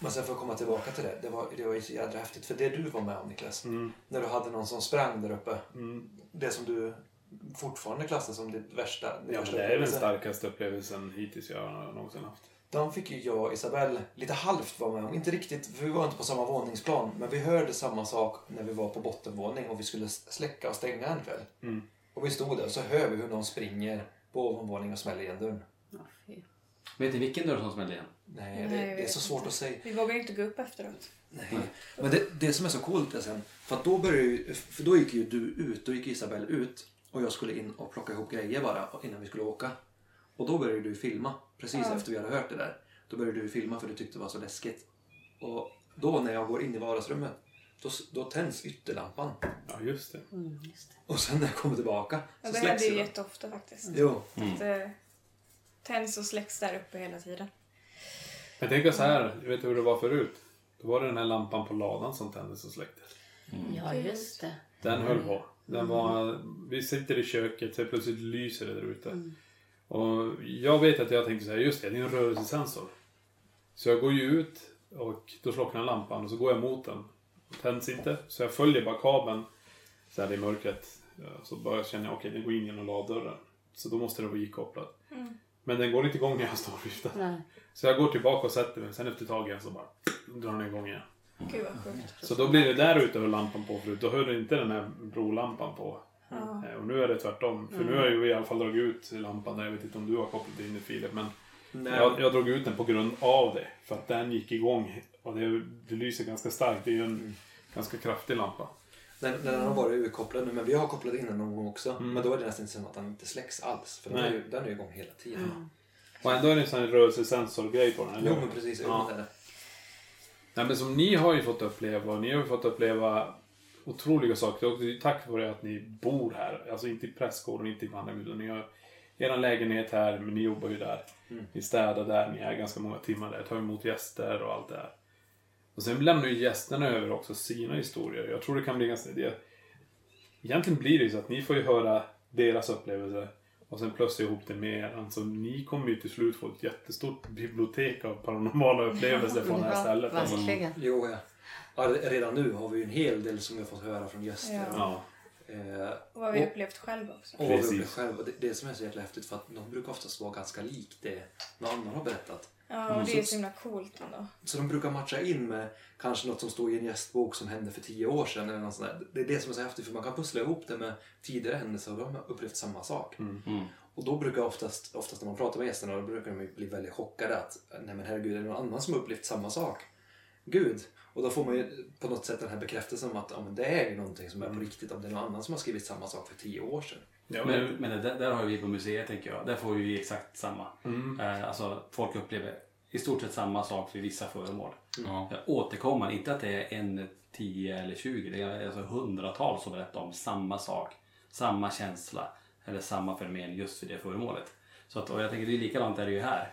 Speaker 8: Men sen för att komma tillbaka till det. Det var, det var ju så jädra häftigt. För det du var med om Niklas. När du hade någon som sprang där uppe. Det som du fortfarande klassar som ditt värsta.
Speaker 5: Ja,
Speaker 8: din
Speaker 5: men
Speaker 8: värsta
Speaker 5: det är den
Speaker 8: upplevelse.
Speaker 5: starkaste upplevelsen hittills jag någonsin haft.
Speaker 8: De fick ju jag och Isabelle lite halvt vara med om. Inte riktigt, för vi var inte på samma våningsplan. Men vi hörde samma sak när vi var på bottenvåning och vi skulle s- släcka och stänga en kväll. Och vi stod där och så hör vi hur någon springer på ovanvåningen och smäller igen dörren.
Speaker 4: Vet ni vilken dörr som smällde igen?
Speaker 8: Nej, det,
Speaker 10: Nej, jag
Speaker 8: det är
Speaker 10: vet
Speaker 8: så svårt att säga.
Speaker 10: Vi vågar ju inte gå upp efteråt.
Speaker 8: Men det, det som är så coolt är sen, för att då började ju, för då gick ju du ut, då gick Isabelle ut och jag skulle in och plocka ihop grejer bara innan vi skulle åka. Och då började du filma, precis
Speaker 10: Ja.
Speaker 8: efter vi hade hört det där. Då började du filma för du tyckte det var så läskigt. Och då när jag går in i vardagsrummet, då, s- då tänds ytterlampan.
Speaker 5: Ja, just det.
Speaker 8: Och sen när jag kommer tillbaka
Speaker 10: Mm, Ja,
Speaker 8: så
Speaker 10: det händer
Speaker 8: släcks
Speaker 10: ju
Speaker 8: ju den.
Speaker 10: jätteofta faktiskt.
Speaker 8: Jo.
Speaker 5: Mm.
Speaker 10: Att, eh, tänds och släcks där uppe hela tiden.
Speaker 5: Jag tänker så här, jag vet du hur det var förut? Då var det den här lampan på ladan som tändes och släcktes.
Speaker 9: Ja, just det.
Speaker 5: Den höll på. Den
Speaker 9: Mm.
Speaker 5: var, vi sitter i köket så plötsligt lyser det där ute.
Speaker 10: Mm.
Speaker 5: Och jag vet att jag tänkte så här, just det, det är en rörelsesensor. Så jag går ju ut och då slocknar lampan och så går jag mot den. Tänds inte, så jag följer bara kabeln så här i mörkret. Ja, Så börjar jag känna, okej den går in genom laddörren. Så då måste den vara ikopplad.
Speaker 10: Mm.
Speaker 5: Men den går inte igång när jag står och viftar.
Speaker 10: Nej.
Speaker 5: Så jag går tillbaka och sätter mig, sen efter ett tag igen så bara drar den igång igen.
Speaker 10: Gud vad sjukt.
Speaker 5: Så då blir det där ute höll lampan på förut. Då höll inte den här brolampan på.
Speaker 10: Ja.
Speaker 5: Eh, Och nu är det tvärtom. För nu
Speaker 10: Mm.
Speaker 5: har jag ju i alla fall dragit ut lampan där. Jag vet inte om du har kopplat in i filen. Men
Speaker 8: Nej.
Speaker 5: jag, jag drog ut den på grund av det. För att den gick igång. Och det, det lyser ganska starkt. Det är ju en
Speaker 8: Mm.
Speaker 5: ganska kraftig lampa.
Speaker 8: Den, den har varit urkopplad nu, men vi har kopplat in den någon gång också. Men då är det nästan som att den inte släcks alls. För den är,
Speaker 5: Nej.
Speaker 8: ju, den är ju igång hela tiden.
Speaker 5: Och ändå är det en sån här rörelsesensorgrej på den. eller
Speaker 8: Jo,
Speaker 5: hur?
Speaker 8: men precis. Jo, men det är det.
Speaker 5: Nej, men som ni har ju fått uppleva. Och ni har ju fått uppleva otroliga saker. Och det är ju tack vare att ni bor här. Alltså inte i prästgården, inte i Mannerguden. Ni har er lägenhet här, men ni jobbar ju där.
Speaker 8: Mm.
Speaker 5: Ni städar där, ni är ganska många timmar där. Tar emot gäster och allt det här. Och sen lämnar ju gästerna över också sina historier. Jag tror det kan bli ganska... Det, egentligen blir det ju så att ni får ju höra deras upplevelser och sen plötsligt ihop det med er. Alltså, ni kommer ju till slut få ett jättestort bibliotek av paranormala upplevelser från det här stället. Alltså.
Speaker 8: Jo, ja. ja. re- Redan nu har vi ju en hel del som vi har fått höra från gäster.
Speaker 5: Ja.
Speaker 8: Eh,
Speaker 10: Och vad vi
Speaker 8: och-
Speaker 10: upplevt själva också.
Speaker 8: Och vad vi
Speaker 5: Precis.
Speaker 8: upplevt själva. Det, det som är så jävla häftigt för att de brukar oftast vara ganska lik det någon annan har berättat.
Speaker 4: Mm.
Speaker 10: Ja, och det är
Speaker 8: Så-
Speaker 10: så himla coolt ändå.
Speaker 8: Så de brukar matcha in med kanske något som står i en gästbok som hände för tio år sedan. Eller något sånt där. Det är det som är så häftigt för man kan pussla ihop det med tidigare händelser och de har upplevt samma sak. Och då brukar oftast, oftast när man pratar med gästerna då brukar de ju bli väldigt chockade att nej men herregud är det någon annan som har upplevt samma sak? Gud! Och då får man ju på något sätt den här bekräftelsen om att ja, men det är ju någonting som är på riktigt om det är någon annan som har skrivit samma sak för tio år sedan.
Speaker 4: men men det, där- där har vi på museet tänker jag. Där får vi exakt samma.
Speaker 8: Mm.
Speaker 4: Eh, alltså folk upplever i stort sett samma sak vid vissa föremål.
Speaker 8: Mm.
Speaker 4: Ja. Återkommande, inte att det är en, tio eller tjugo. Det är alltså hundratals som berättar om samma sak, samma känsla eller samma fenomen just för det föremålet. Så att, och jag tänker det är likadant är det ju här.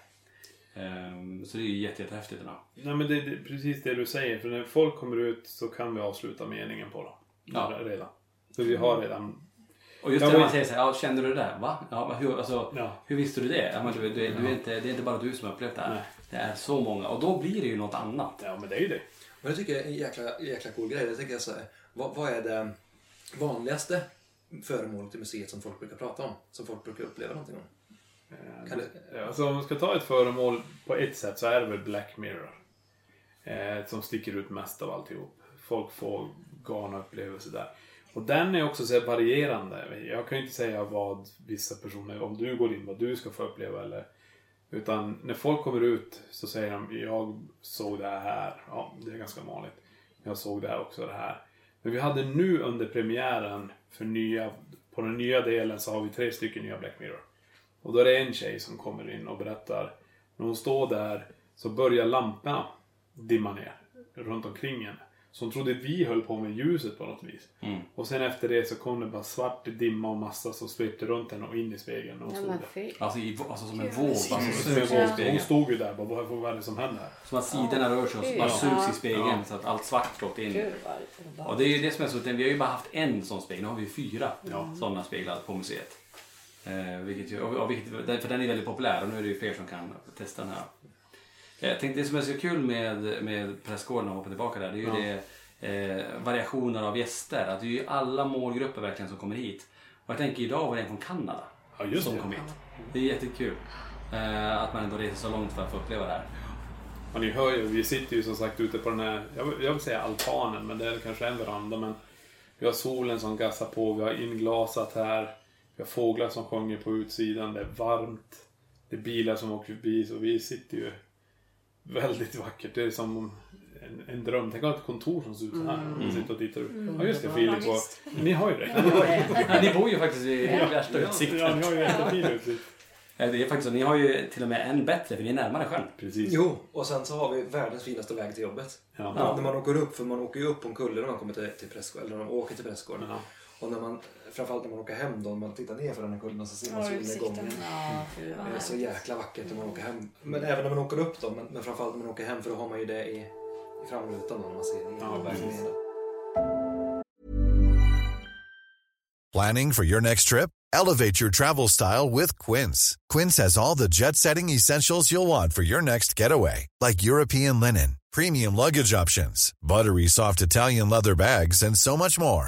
Speaker 4: Ehm, så det är ju jätte, jättehäftigt. ändå.
Speaker 5: Nej men det är precis det du säger. För när folk kommer ut så kan vi avsluta meningen på dem.
Speaker 4: Ja.
Speaker 5: Redan. Så vi har redan
Speaker 4: Och just
Speaker 5: Ja,
Speaker 4: det,
Speaker 5: men-
Speaker 4: man säger så här, ja, kände du det där? Va? Ja, men hur, alltså, hur visste du det? Ja, men du, du, du är
Speaker 5: Ja.
Speaker 4: inte, det är inte bara du som har upplevt det här. Det är så många och då blir det ju något annat.
Speaker 5: Ja, men det är ju det.
Speaker 8: Men det tycker jag är en jäkla, jäkla cool grej. Jag tänker jag så här, vad, vad är det vanligaste föremålet i museet som folk brukar prata om? Som folk brukar uppleva någonting om? Kan du-
Speaker 5: Eh, Alltså om man ska ta ett föremål på ett sätt så är det väl Black Mirror. Eh, som sticker ut mest av alltihop. Folk får galna upplevelser där. Och den är också så här varierande. Jag kan ju inte säga vad vissa personer, om du går in, vad du ska få uppleva eller utan när folk kommer ut så säger de jag såg det här. Ja, det är ganska vanligt. Jag såg det här också, det här. Men vi hade nu under premiären för nya, på den nya delen så har vi tre stycken nya Black Mirror. Och då är det en tjej som kommer in och berättar. När hon står där så börjar lamporna dimma ner runt omkring henne. Så hon trodde vi höll på med ljuset på något vis.
Speaker 4: Mm.
Speaker 5: Och sen efter det så kom det bara svart dimma och massa som svepte runt henne och in i spegeln. Och hon
Speaker 4: Ja,
Speaker 5: stod
Speaker 4: men
Speaker 5: där.
Speaker 4: fy. Alltså i- alltså som en Gud. våg, alltså,
Speaker 5: Mm.
Speaker 4: som sugs
Speaker 5: Som en
Speaker 4: i
Speaker 5: våg.
Speaker 4: spegeln.
Speaker 5: Hon stod ju där bara, vad vad är det som händer?
Speaker 4: Som att sidorna rör sig och så bara sugs i spegeln så att allt svart slått in.
Speaker 12: Gud, vad obehagligt.
Speaker 4: Och det är ju det som är så, att vi har ju bara haft en sån spegel, nu har vi ju fyra sådana speglar på museet. Eh, vilket ju, och, och, vilket, för den är väldigt populär och nu är det ju fler som kan testa den här. Eh, Jag tänkte, det som är så kul med, med pressgården och hoppa tillbaka där, det är ju
Speaker 5: Ja.
Speaker 4: det eh, variationer av gäster. Att det är ju alla målgrupper verkligen som kommer hit. Och jag tänker idag var det en från Kanada
Speaker 5: just
Speaker 4: som
Speaker 5: det.
Speaker 4: kom hit. Det är jättekul eh, att man ändå reser så långt för att få uppleva det här.
Speaker 5: Och ni hör ju, vi sitter ju som sagt ute på den här, jag vill, jag vill säga altanen, men det är kanske en veranda. Men vi har solen som gassar på, vi har inglasat här. Vi har fåglar som sjunger på utsidan, det är varmt. Det är bilar som åker förbi, så vi sitter ju väldigt vackert. Det är som en, en dröm. Tänk att ha ett kontor som ser ut så här.
Speaker 4: Mm.
Speaker 5: Man sitter och tittar ut.
Speaker 4: Mm.
Speaker 5: Ja just det,
Speaker 4: Ja,
Speaker 5: Filip och...
Speaker 4: visst.
Speaker 5: Ni har ju det.
Speaker 4: Ja, ni har ju det. Ni bor ju faktiskt i
Speaker 5: Ja,
Speaker 4: värsta
Speaker 5: ja,
Speaker 4: utsikten.
Speaker 5: Ja, ni har ju jättefin utsikt.
Speaker 4: Eh, Det är faktiskt så, ni har ju till och med en bättre för ni är närmare sjön.
Speaker 5: Precis.
Speaker 8: Jo, och sen så har vi världens finaste väg till jobbet.
Speaker 4: Ja.
Speaker 8: När- När man åker upp, för man åker ju upp på en kulle när man kommer till, till pressgården, eller när man åker till pressgården. Och när man, framförallt när man åker hem då, när man tittar ner för den här kullen så ser man
Speaker 13: Ja,
Speaker 8: solnedgången.
Speaker 13: utsikten. Ja, fy, vad
Speaker 8: det är så
Speaker 13: härligt.
Speaker 8: jäkla vackert när man åker hem. Men även när man åker upp då, men, men framförallt när man åker hem för då har man ju det i, i framrutan då, när man ser det. Ja,
Speaker 5: verkligen.
Speaker 14: Planning for your next trip? Elevate your travel style with Quince. Quince has all the jet setting essentials you'll want for your next getaway, like European linen, premium luggage options, buttery soft Italian leather bags, and so much more.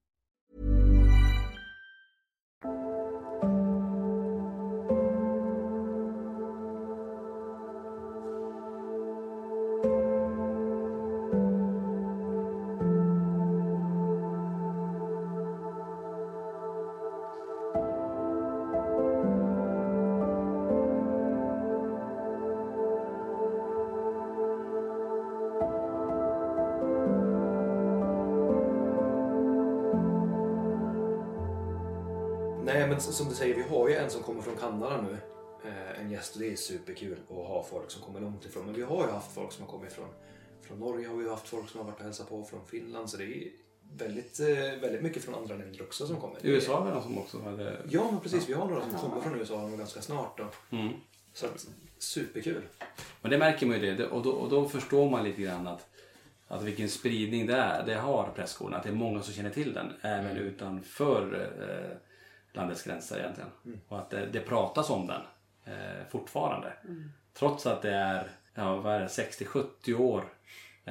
Speaker 8: Nej, men s- som du säger, vi har ju en som kommer från Kanada nu. eh, En gäst och det är superkul att ha folk som kommer långt ifrån. Men vi har ju haft folk som har kommit från, från Norge, har vi haft folk som har varit och hälsat på från Finland. Så det är, väldigt, eh, väldigt mycket från andra länder också som kommer.
Speaker 4: USA har väl någon som också hade...
Speaker 8: Ja, men precis. Vi har några som kommer från USA ganska snart. Då.
Speaker 4: Mm.
Speaker 8: Så att, superkul.
Speaker 4: Men det märker man ju det. det och, då, och då förstår man lite grann att, att vilken spridning det, är, det har presskolan. Att det är många som känner till den även utanför eh, landets gränser egentligen.
Speaker 8: Mm.
Speaker 4: Och att eh, det, det pratas om den eh, fortfarande.
Speaker 8: Mm.
Speaker 4: Trots att det är, ja, vad är det, 60-70 år eh,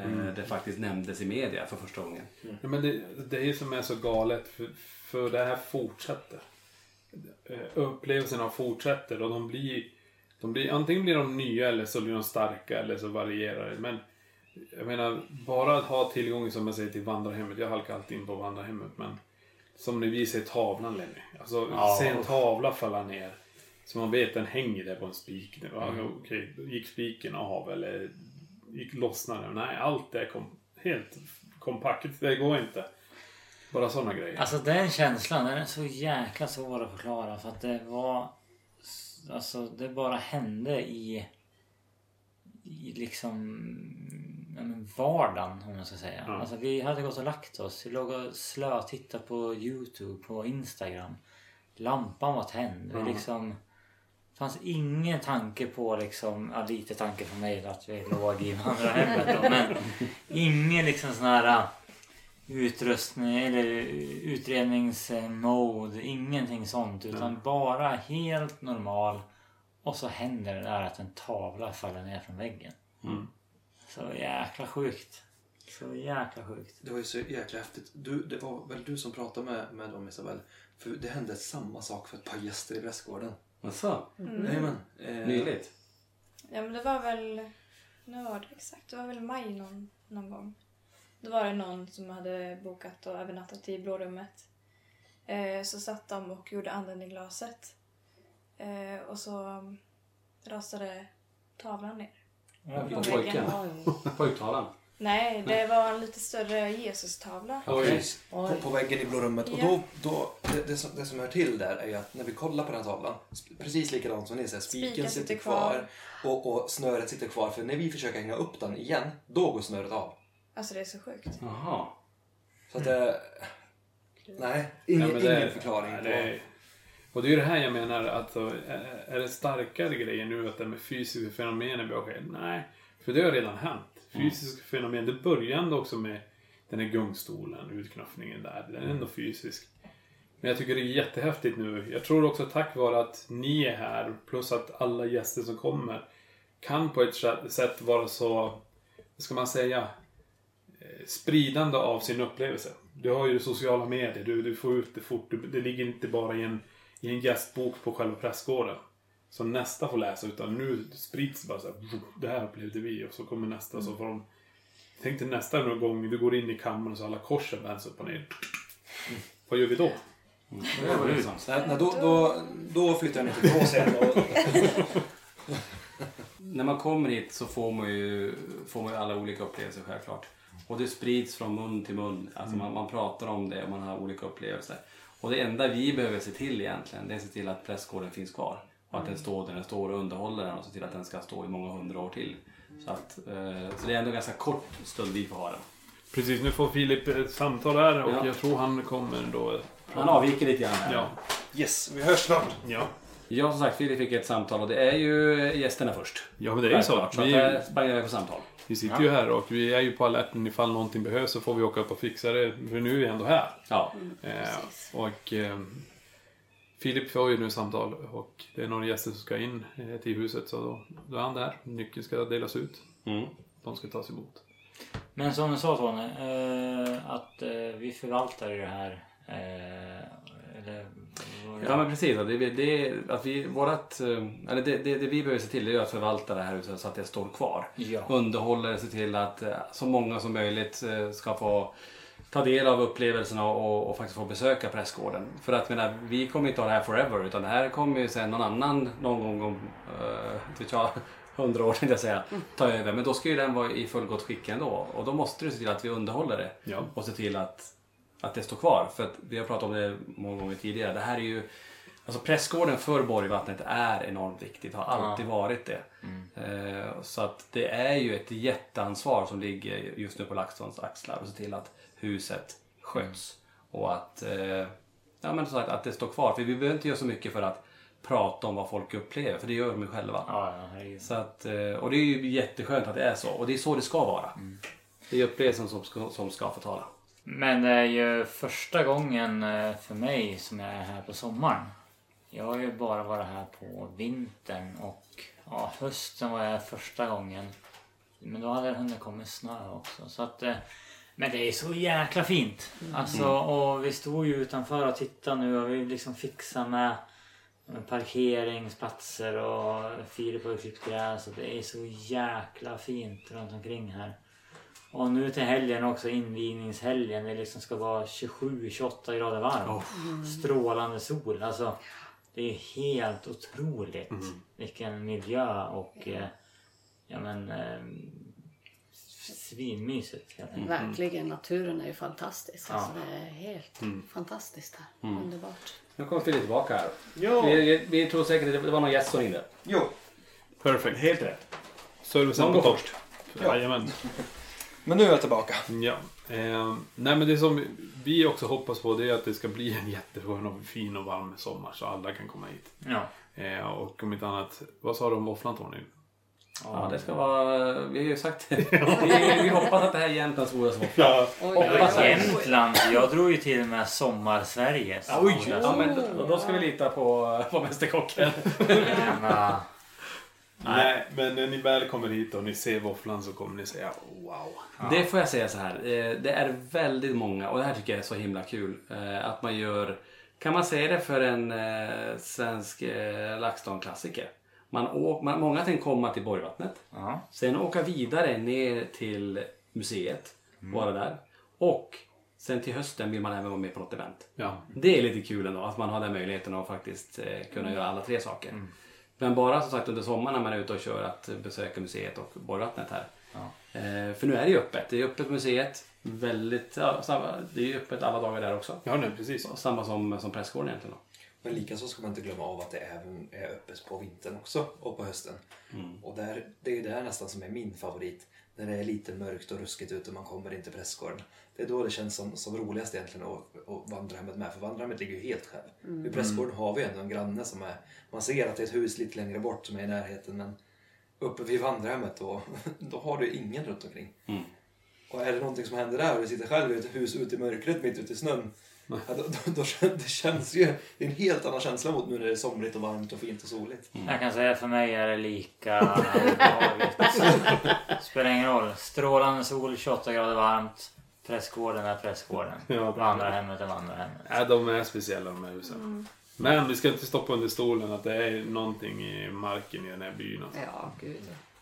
Speaker 5: Mm.
Speaker 4: det faktiskt nämndes i media för första gången.
Speaker 5: Ja, men det, det är ju som är så galet för, för det här fortsätter. Eh, Upplevelserna fortsätter och de blir, de blir... Antingen blir de nya eller så blir de starka eller så varierar det. Men jag menar, bara att ha tillgång som jag säger till vandrarhemmet. Jag halkar alltid in på vandrarhemmet men som ni visar i tavlan Lenny. Alltså
Speaker 4: Ja.
Speaker 5: se en tavla falla ner. Så man vet den hänger där på en spik. Det var,
Speaker 4: Mm.
Speaker 5: Okej, gick spiken av eller gick lossnade den? Nej, allt det kom helt kompakt. Det går inte. Bara sådana grejer.
Speaker 6: Alltså den känslan, den är så jäkla svår att förklara för att det var... Alltså det bara hände i... I liksom... Ja, men vardagen om man ska säga.
Speaker 5: Ja.
Speaker 6: Alltså vi hade gått och lagt oss. Vi låg och slötittade på Youtube, på Instagram. Lampan var tänd.
Speaker 5: Ja.
Speaker 6: Vi liksom... Det fanns ingen tanke på liksom, ja, lite tanke från mig att vi låg i vandrarhemmet då, men ingen liksom sån här utrustning eller utredningsmode, ingenting sånt utan
Speaker 5: Mm.
Speaker 6: bara helt normal och så händer det där att en tavla faller ner från väggen.
Speaker 5: Mm.
Speaker 6: Så jäkla sjukt. Så jäkla sjukt.
Speaker 8: Det var ju så jäkla häftigt. Du, det var väl du som pratade med, med dem Isabel? För det hände samma sak för ett par gäster i Prästgården.
Speaker 4: Jaså?
Speaker 10: Mm.
Speaker 8: Jajamän. Eh,
Speaker 4: Nyligt?
Speaker 10: Ja men det var väl, när var det exakt? Det var väl i maj någon, någon gång. Då var det någon som hade bokat och övernattat i blårummet. Eh, så satt de och gjorde anden i glaset. Eh, och så rasade tavlan ner.
Speaker 4: Ja,
Speaker 10: På
Speaker 4: pojken.
Speaker 10: väggen.
Speaker 4: Pojktavlan?
Speaker 10: Nej, det var en lite större Jesus-tavla.
Speaker 8: Precis. På, på väggen i blå rummet. Och
Speaker 10: Ja.
Speaker 8: då, då, det, det, som, det som hör till där är ju att när vi kollar på den tavlan, sp- precis likadant som ni säger, spiken,
Speaker 10: Spiken
Speaker 8: sitter
Speaker 10: sitter
Speaker 8: kvar
Speaker 10: kvar.
Speaker 8: och, och snöret sitter kvar. För när vi försöker hänga upp den igen, då går snöret av.
Speaker 10: Alltså det är så sjukt.
Speaker 4: Jaha.
Speaker 8: Så att det... Nej,
Speaker 5: Nej, Mm.
Speaker 8: ingen,
Speaker 5: men det-
Speaker 8: ingen förklaring
Speaker 5: nej,
Speaker 8: på...
Speaker 5: det är- och det är ju det här jag menar, att så, är- är det starkare grejer nu att det med fysiska fenomen är bra skäl? Nej, för det har redan hänt. Fysiska fenomen, det började ändå också med den här gungstolen, utknuffningen där. Den är ändå fysisk. Men jag tycker det är jättehäftigt nu. Jag tror också tack vare att ni är här, plus att alla gäster som kommer kan på ett sätt vara så, vad ska man säga, eh, spridande av sin upplevelse. Du har ju sociala medier, du, du får ut det fort. Du, det ligger inte bara i en, i en gästbok på själva pressgården. Som nästa får läsa, utan nu sprids det bara så här, "Vroom, Det här upplevde vi och så kommer nästa.
Speaker 4: Mm.
Speaker 5: Så får de, tänk dig nästa gång du går in i kammaren så alla korsen vänds upp och ner.
Speaker 4: Mm.
Speaker 5: Vad gör vi då?
Speaker 8: Det var det som- Nej, nej, då, då, då flyttar jag ner till Gråsön och...
Speaker 4: När man kommer hit så får man ju, får man ju alla olika upplevelser självklart. Och det sprids från mun till mun. Alltså man, man pratar om det och man har olika upplevelser. Och det enda vi behöver se till egentligen det är att se till att prästgården finns kvar. Och att den
Speaker 6: Mm.
Speaker 4: står där den står och underhåller den och se till att den ska stå i många hundra år till. Så, att, eh, så det är ändå ganska kort stund vi får ha den.
Speaker 5: Precis, nu får Filip ett samtal här och
Speaker 4: Ja.
Speaker 5: jag tror han kommer då. eh,
Speaker 4: Han avviker lite grann här.
Speaker 5: Ja.
Speaker 8: Yes, vi hörs snart.
Speaker 5: Ja.
Speaker 4: Jag som sagt, Filip fick ett samtal och det är ju eh, gästerna först.
Speaker 5: Ja men det är ju så.
Speaker 4: Självklart, Så att eh,
Speaker 5: Vi-
Speaker 4: jag sprang iväg på samtal.
Speaker 5: Vi sitter
Speaker 4: Ja.
Speaker 5: ju här och vi är ju på alerten ifall någonting behövs så får vi åka upp och fixa det. För nu är vi ändå här.
Speaker 4: Ja.
Speaker 5: Eh, och eh, Filip får ju nu samtal och det är några gäster som ska in eh, till huset så då, då är han där. Nyckeln ska delas ut. De ska tas emot.
Speaker 6: Men som du sa Tony, eh, att eh, vi förvaltar ju det här. Eh, eller, vad-
Speaker 4: Ja men precis. Och Det, det, att vi, vårat, eh, eller det, det, det vi behöver se till är ju att förvalta det här huset så att det står kvar.
Speaker 6: Ja.
Speaker 4: Underhålla det, se till att eh, så många som möjligt eh, ska få ta del av upplevelserna och, och faktiskt få besöka prästgården. För att jag menar, vi kommer inte ha det här forever utan det här kommer ju sen någon annan någon gång om, eh, vet jag, hundra år tänkte jag säga, ta över. Men då ska ju den vara i fullgott skick ändå och då måste du se till att vi underhåller det
Speaker 5: Ja.
Speaker 4: och se till att, att det står kvar. För att vi har pratat om det många gånger tidigare. Det här är ju, alltså prästgården för Borgvattnet är enormt viktigt, har alltid
Speaker 6: Ja.
Speaker 4: varit det. Eh, Så att det är ju ett jätteansvar som ligger just nu på LaxTons axlar och se till att huset sköts. Och att, eh, ja, men så att, att det står kvar. För vi behöver inte göra så mycket för att prata om vad folk upplever. För det gör de ju själva. så att, eh, och det är ju jätteskönt att det är så. Och det är så det ska vara. Det är upplevelsen som ska, som ska förtala.
Speaker 6: Men det är ju första gången eh, för mig som jag är här på sommaren. Jag har ju bara varit här på vintern och ja, hösten var jag första gången. Men då hade det hunnit komma snö också. Så att, eh, men det är så jäkla fint.
Speaker 4: Mm.
Speaker 6: Alltså,
Speaker 4: Mm.
Speaker 6: och vi stod ju utanför och tittade nu och vi liksom fixar med med parkeringsplatser och Filip har ju klippt gräs och det är så jäkla fint runt omkring här. Och nu till helgen också, invigningshelgen. Det liksom ska vara 27-28 grader varmt.
Speaker 4: Mm.
Speaker 6: Strålande sol. Alltså, det är helt otroligt vilken miljö och eh, ja, men, eh, svinmysigt. helt
Speaker 4: Mm.
Speaker 6: enkelt.
Speaker 9: Verkligen, naturen är ju fantastisk.
Speaker 6: Ja.
Speaker 9: Alltså, det är helt
Speaker 4: Mm.
Speaker 9: fantastiskt här.
Speaker 4: Mm.
Speaker 9: Underbart.
Speaker 4: Nu kommer Filip tillbaka här.
Speaker 9: Ja.
Speaker 4: Vi, vi tror säkert att det var någon gäst som ringde.
Speaker 8: Jo.
Speaker 5: Perfekt. Helt rätt. Servicen
Speaker 4: Någon
Speaker 5: på
Speaker 4: går
Speaker 5: först.
Speaker 4: Ja.
Speaker 5: Jajamän.
Speaker 8: Men nu är jag tillbaka.
Speaker 5: Ja. Eh, nej men det som vi också hoppas på det är att det ska bli en jätteskön och fin och varm sommar så alla kan komma hit.
Speaker 6: Ja.
Speaker 5: Eh, och om inte annat, vad sa du om våfflan Tony?
Speaker 4: Ja, det ska vara... Vi har ju sagt det. vi, vi hoppas att det här är Jämtlands godaste våffla.
Speaker 5: Ja.
Speaker 4: Hoppas
Speaker 6: Och
Speaker 4: det.
Speaker 6: Jämtland, jag drog ju till och med Sommar-Sverige.
Speaker 4: Oj! Ja, men då, då ska vi lita på, på Mästerkocken.
Speaker 5: Nej, men när ni väl kommer hit och ni ser våfflan så kommer ni säga "Oh, wow.
Speaker 4: Det får jag säga så här. eh, Det är väldigt många, och det här tycker jag är så himla kul, eh, att man gör... Kan man säga det för en eh, svensk eh, LaxTon-klassiker? Man å- man, många tänker komma till Borgvattnet, sen åka vidare ner till museet, vara där. Och sen till hösten vill man även vara med på något event.
Speaker 5: Ja.
Speaker 4: Det är lite kul ändå, att man har den möjligheten att faktiskt eh, kunna
Speaker 5: Mm.
Speaker 4: göra alla tre saker. Men bara som sagt under sommaren när man är ute och kör att besöka museet och Borgvattnet här. Eh, För nu är det ju öppet. Det är öppet på museet. Väldigt, ja, samma, det är ju öppet alla dagar där också.
Speaker 5: Ja, nej, precis.
Speaker 4: Samma som, som prästgården egentligen. Då.
Speaker 8: Men likaså ska man inte glömma av att det även är öppet på vintern också och på hösten. Och där, det är där nästan som är min favorit. När det är lite mörkt och ruskigt ute och man kommer in till prästgården. Det är då det känns som, som roligast egentligen att, att vandrarhemmet med. För vandrarhemmet ligger ju helt själv.
Speaker 9: Mm.
Speaker 8: I prästgården har vi ändå en granne som är... Man ser att det är ett hus lite längre bort som är i närheten men uppe vid vandrarhemmet då, då har du ingen runt omkring.
Speaker 4: Mm.
Speaker 8: Och är det någonting som händer där och du sitter själv i ett hus ute i mörkret mitt ute i snön. Ja, då, då, då, kän- det känns ju, det är en helt annan känsla mot nu när det är somrigt och varmt och fint och soligt.
Speaker 6: Jag kan säga för mig är det lika obehagligt. Spelar ingen roll. Strålande sol, 28 grader varmt. Prästgården är prästgården.
Speaker 5: Ja.
Speaker 6: Vandrarhemmet är vandrarhemmet.
Speaker 5: Ja, de är speciella de här husen.
Speaker 6: Mm.
Speaker 5: Men vi ska inte stoppa under stolen att det är någonting i marken i den här byn. Alltså.
Speaker 9: Ja, gud.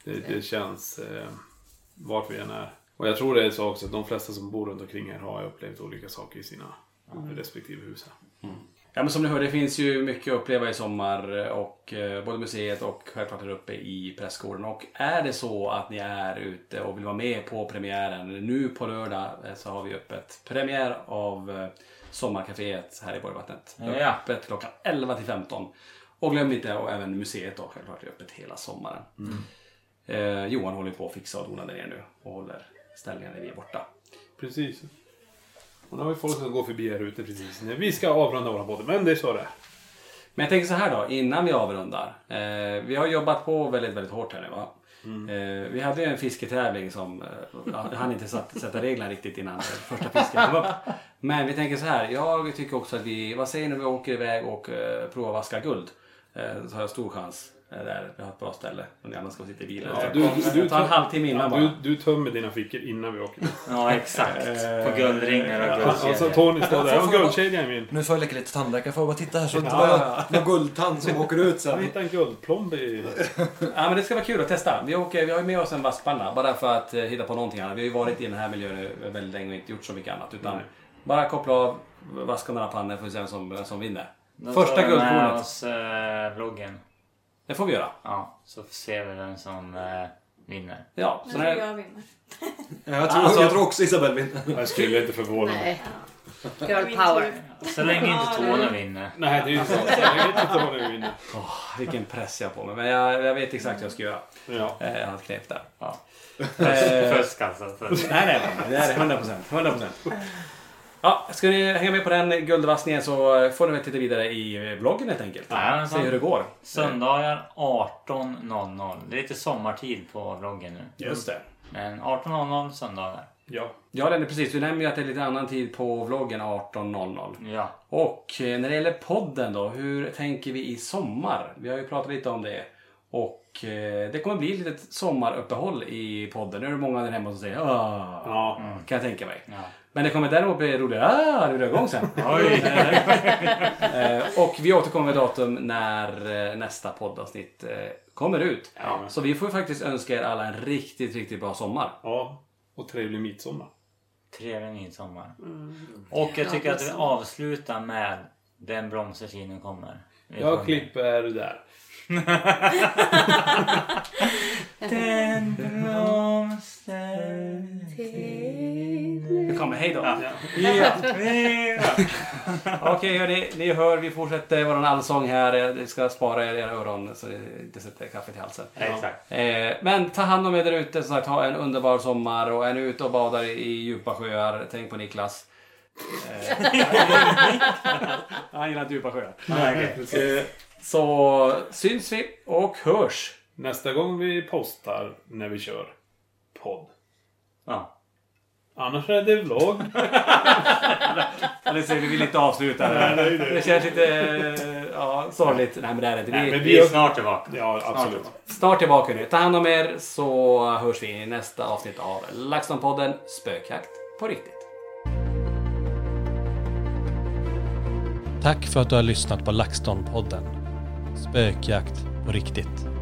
Speaker 5: Det, det känns eh, vart vi än är. Och jag tror det är så också att de flesta som bor runt omkring här har upplevt olika saker i sina
Speaker 4: Mm.
Speaker 5: respektive hus. här.
Speaker 4: Ja, men som ni hör, det finns ju mycket att uppleva i sommar. Och, eh, både museet och självklart här uppe i prästgården. Och är det så att ni är ute och vill vara med på premiären. Nu på lördag eh, så har vi öppet premiär av eh, Sommarcaféet här i Borgvattnet. Det är
Speaker 6: Ja.
Speaker 4: Öppet klockan 11 till 15. Och glöm inte, och även museet då självklart, är öppet hela sommaren.
Speaker 5: Mm.
Speaker 4: Eh, Johan håller på att fixa och dona där nere nu och håller ställningen när vi är borta.
Speaker 5: Precis. Och nu har vi folk som går förbi här ute precis nu. Vi ska avrunda våra podd, men det är så det är.
Speaker 4: Men jag tänker så här då, innan vi avrundar. Eh, vi har jobbat på väldigt, väldigt hårt här nu va?
Speaker 5: Mm.
Speaker 4: Eh, vi hade ju en fisketävling som eh, hann inte satt, sätta reglerna riktigt innan första fisken kom upp. Men vi tänker så här, jag tycker också att vi, vad säger ni om vi åker iväg och eh, provar vaska guld? Eh, så har jag stor chans eh, där, vi har ett bra ställe. Om ni andra ska sitta i bilen.
Speaker 5: Ja,
Speaker 4: du, du, Ta en halvtimme innan
Speaker 5: ja,
Speaker 4: bara.
Speaker 5: du, du tömmer dina fickor innan vi åker.
Speaker 6: Ja, exakt. På guldringar och
Speaker 5: guldkedjor.
Speaker 6: guldkedjor.
Speaker 5: Alltså Tony står där. Och
Speaker 8: Får jag bara-
Speaker 5: guldkedja är min.
Speaker 8: Eh, Nu får jag leka lite tandläkare. Får jag bara titta här så att det
Speaker 5: Ja,
Speaker 8: inte bara
Speaker 5: ja,
Speaker 8: någon guldtand som åker ut
Speaker 5: Han
Speaker 8: sen.
Speaker 5: hittade en guldplomb i...
Speaker 4: Ja men det ska vara kul att testa. Vi, åker, vi har ju med oss en vasspanna bara för att eh, hitta på någonting annat. Vi har ju varit i den här miljön nu väldigt länge och inte gjort så mycket annat. Utan
Speaker 6: Nej.
Speaker 4: bara koppla av, vaska några pannor får vi se vem som, som vinner.
Speaker 6: Då
Speaker 4: Första
Speaker 6: tar vi med
Speaker 4: guldkornet.
Speaker 6: oss eh, vloggen.
Speaker 4: Det får vi göra.
Speaker 6: Ja, så ser vi vem som eh, vinner.
Speaker 4: Ja, Ah,
Speaker 10: Jag tror jag vinner.
Speaker 8: Jag tror,
Speaker 6: Alltså-
Speaker 8: jag tror också Isabelle vinner.
Speaker 5: Jag skulle inte förvåna
Speaker 6: Nej.
Speaker 9: Girl power.
Speaker 6: Så länge inte Tony vinner.
Speaker 5: Nej, det är ju så. Jag vet inte vad du vinner.
Speaker 4: Åh, Ah, vilken press jag har på mig. Men jag, jag vet exakt vad jag ska göra. Eh, jag har ett knep där. Ja.
Speaker 6: Fusk- fusk alltså, fusk.
Speaker 4: Nej, nej, nej. Det är 100 procent. 100 procent. Ja, ska ni hänga med på den guldvassningen så får ni väl titta vidare i vloggen helt enkelt. Se hur det går.
Speaker 6: Söndagar 18.00. Det är lite sommartid på vloggen nu.
Speaker 4: Just det.
Speaker 6: Men 18.00 söndagar.
Speaker 4: Ja. Ja, Lenne, precis. Du nämnde ju att det är lite annan tid på vloggen 18.00.
Speaker 6: Ja.
Speaker 4: Och eh, när det gäller podden då, hur tänker vi i sommar? Vi har ju pratat lite om det. Och eh, det kommer bli ett litet sommaruppehåll i podden. Nu är det många där hemma som säger Åh, ja.
Speaker 5: Mm.
Speaker 4: kan jag tänka mig. Men det kommer däremot bli roligare ah, när vi drar igång sen.
Speaker 6: Oj.
Speaker 4: Eh, och vi återkommer med datum när eh, nästa poddavsnitt eh, kommer ut. Så vi får ju faktiskt önska er alla en riktigt, riktigt bra sommar.
Speaker 5: Ja, och trevlig midsommar.
Speaker 6: Trevlig midsommar.
Speaker 5: Mm.
Speaker 6: Och jag tycker
Speaker 5: Ja,
Speaker 6: att vi
Speaker 5: midsommar.
Speaker 6: avslutar med Den bromsartiden kommer. Vi
Speaker 5: Jag
Speaker 6: sjunger.
Speaker 5: klipper där.
Speaker 6: Den blomstertid.
Speaker 4: Nu kommer hej då.
Speaker 6: Ja.
Speaker 4: Ja. Okej hörni, ni hör vi fortsätter våran allsång här. Vi ska spara er era öron så det inte sätter kaffet i halsen.
Speaker 6: Ja, exakt.
Speaker 4: Eh, Men ta hand om er där ute. Som sagt, ha en underbar sommar och är ni ute och badar i i djupa sjöar, tänk på Niklas. Eh, Han gillar inte djupa sjöar.
Speaker 5: Nej, okej, precis.
Speaker 4: Eh, Så syns vi och hörs.
Speaker 5: Nästa gång vi postar när vi kör podd.
Speaker 6: Ja.
Speaker 5: Annars är det vlogg.
Speaker 4: Eller så vi vill inte avsluta
Speaker 5: Nej, det är ju det.
Speaker 4: Det känns lite eh, ja, sorgligt. Nej men det är det inte.
Speaker 5: Nej, men vi är snart
Speaker 6: tillbaka.
Speaker 5: Ja, absolut.
Speaker 4: Snart tillbaka nu. Ta hand om er så hörs vi i nästa avsnitt av LaxTon-podden Spökjakt på riktigt.
Speaker 8: Tack för att du har lyssnat på LaxTon-podden. Spökjakt på riktigt.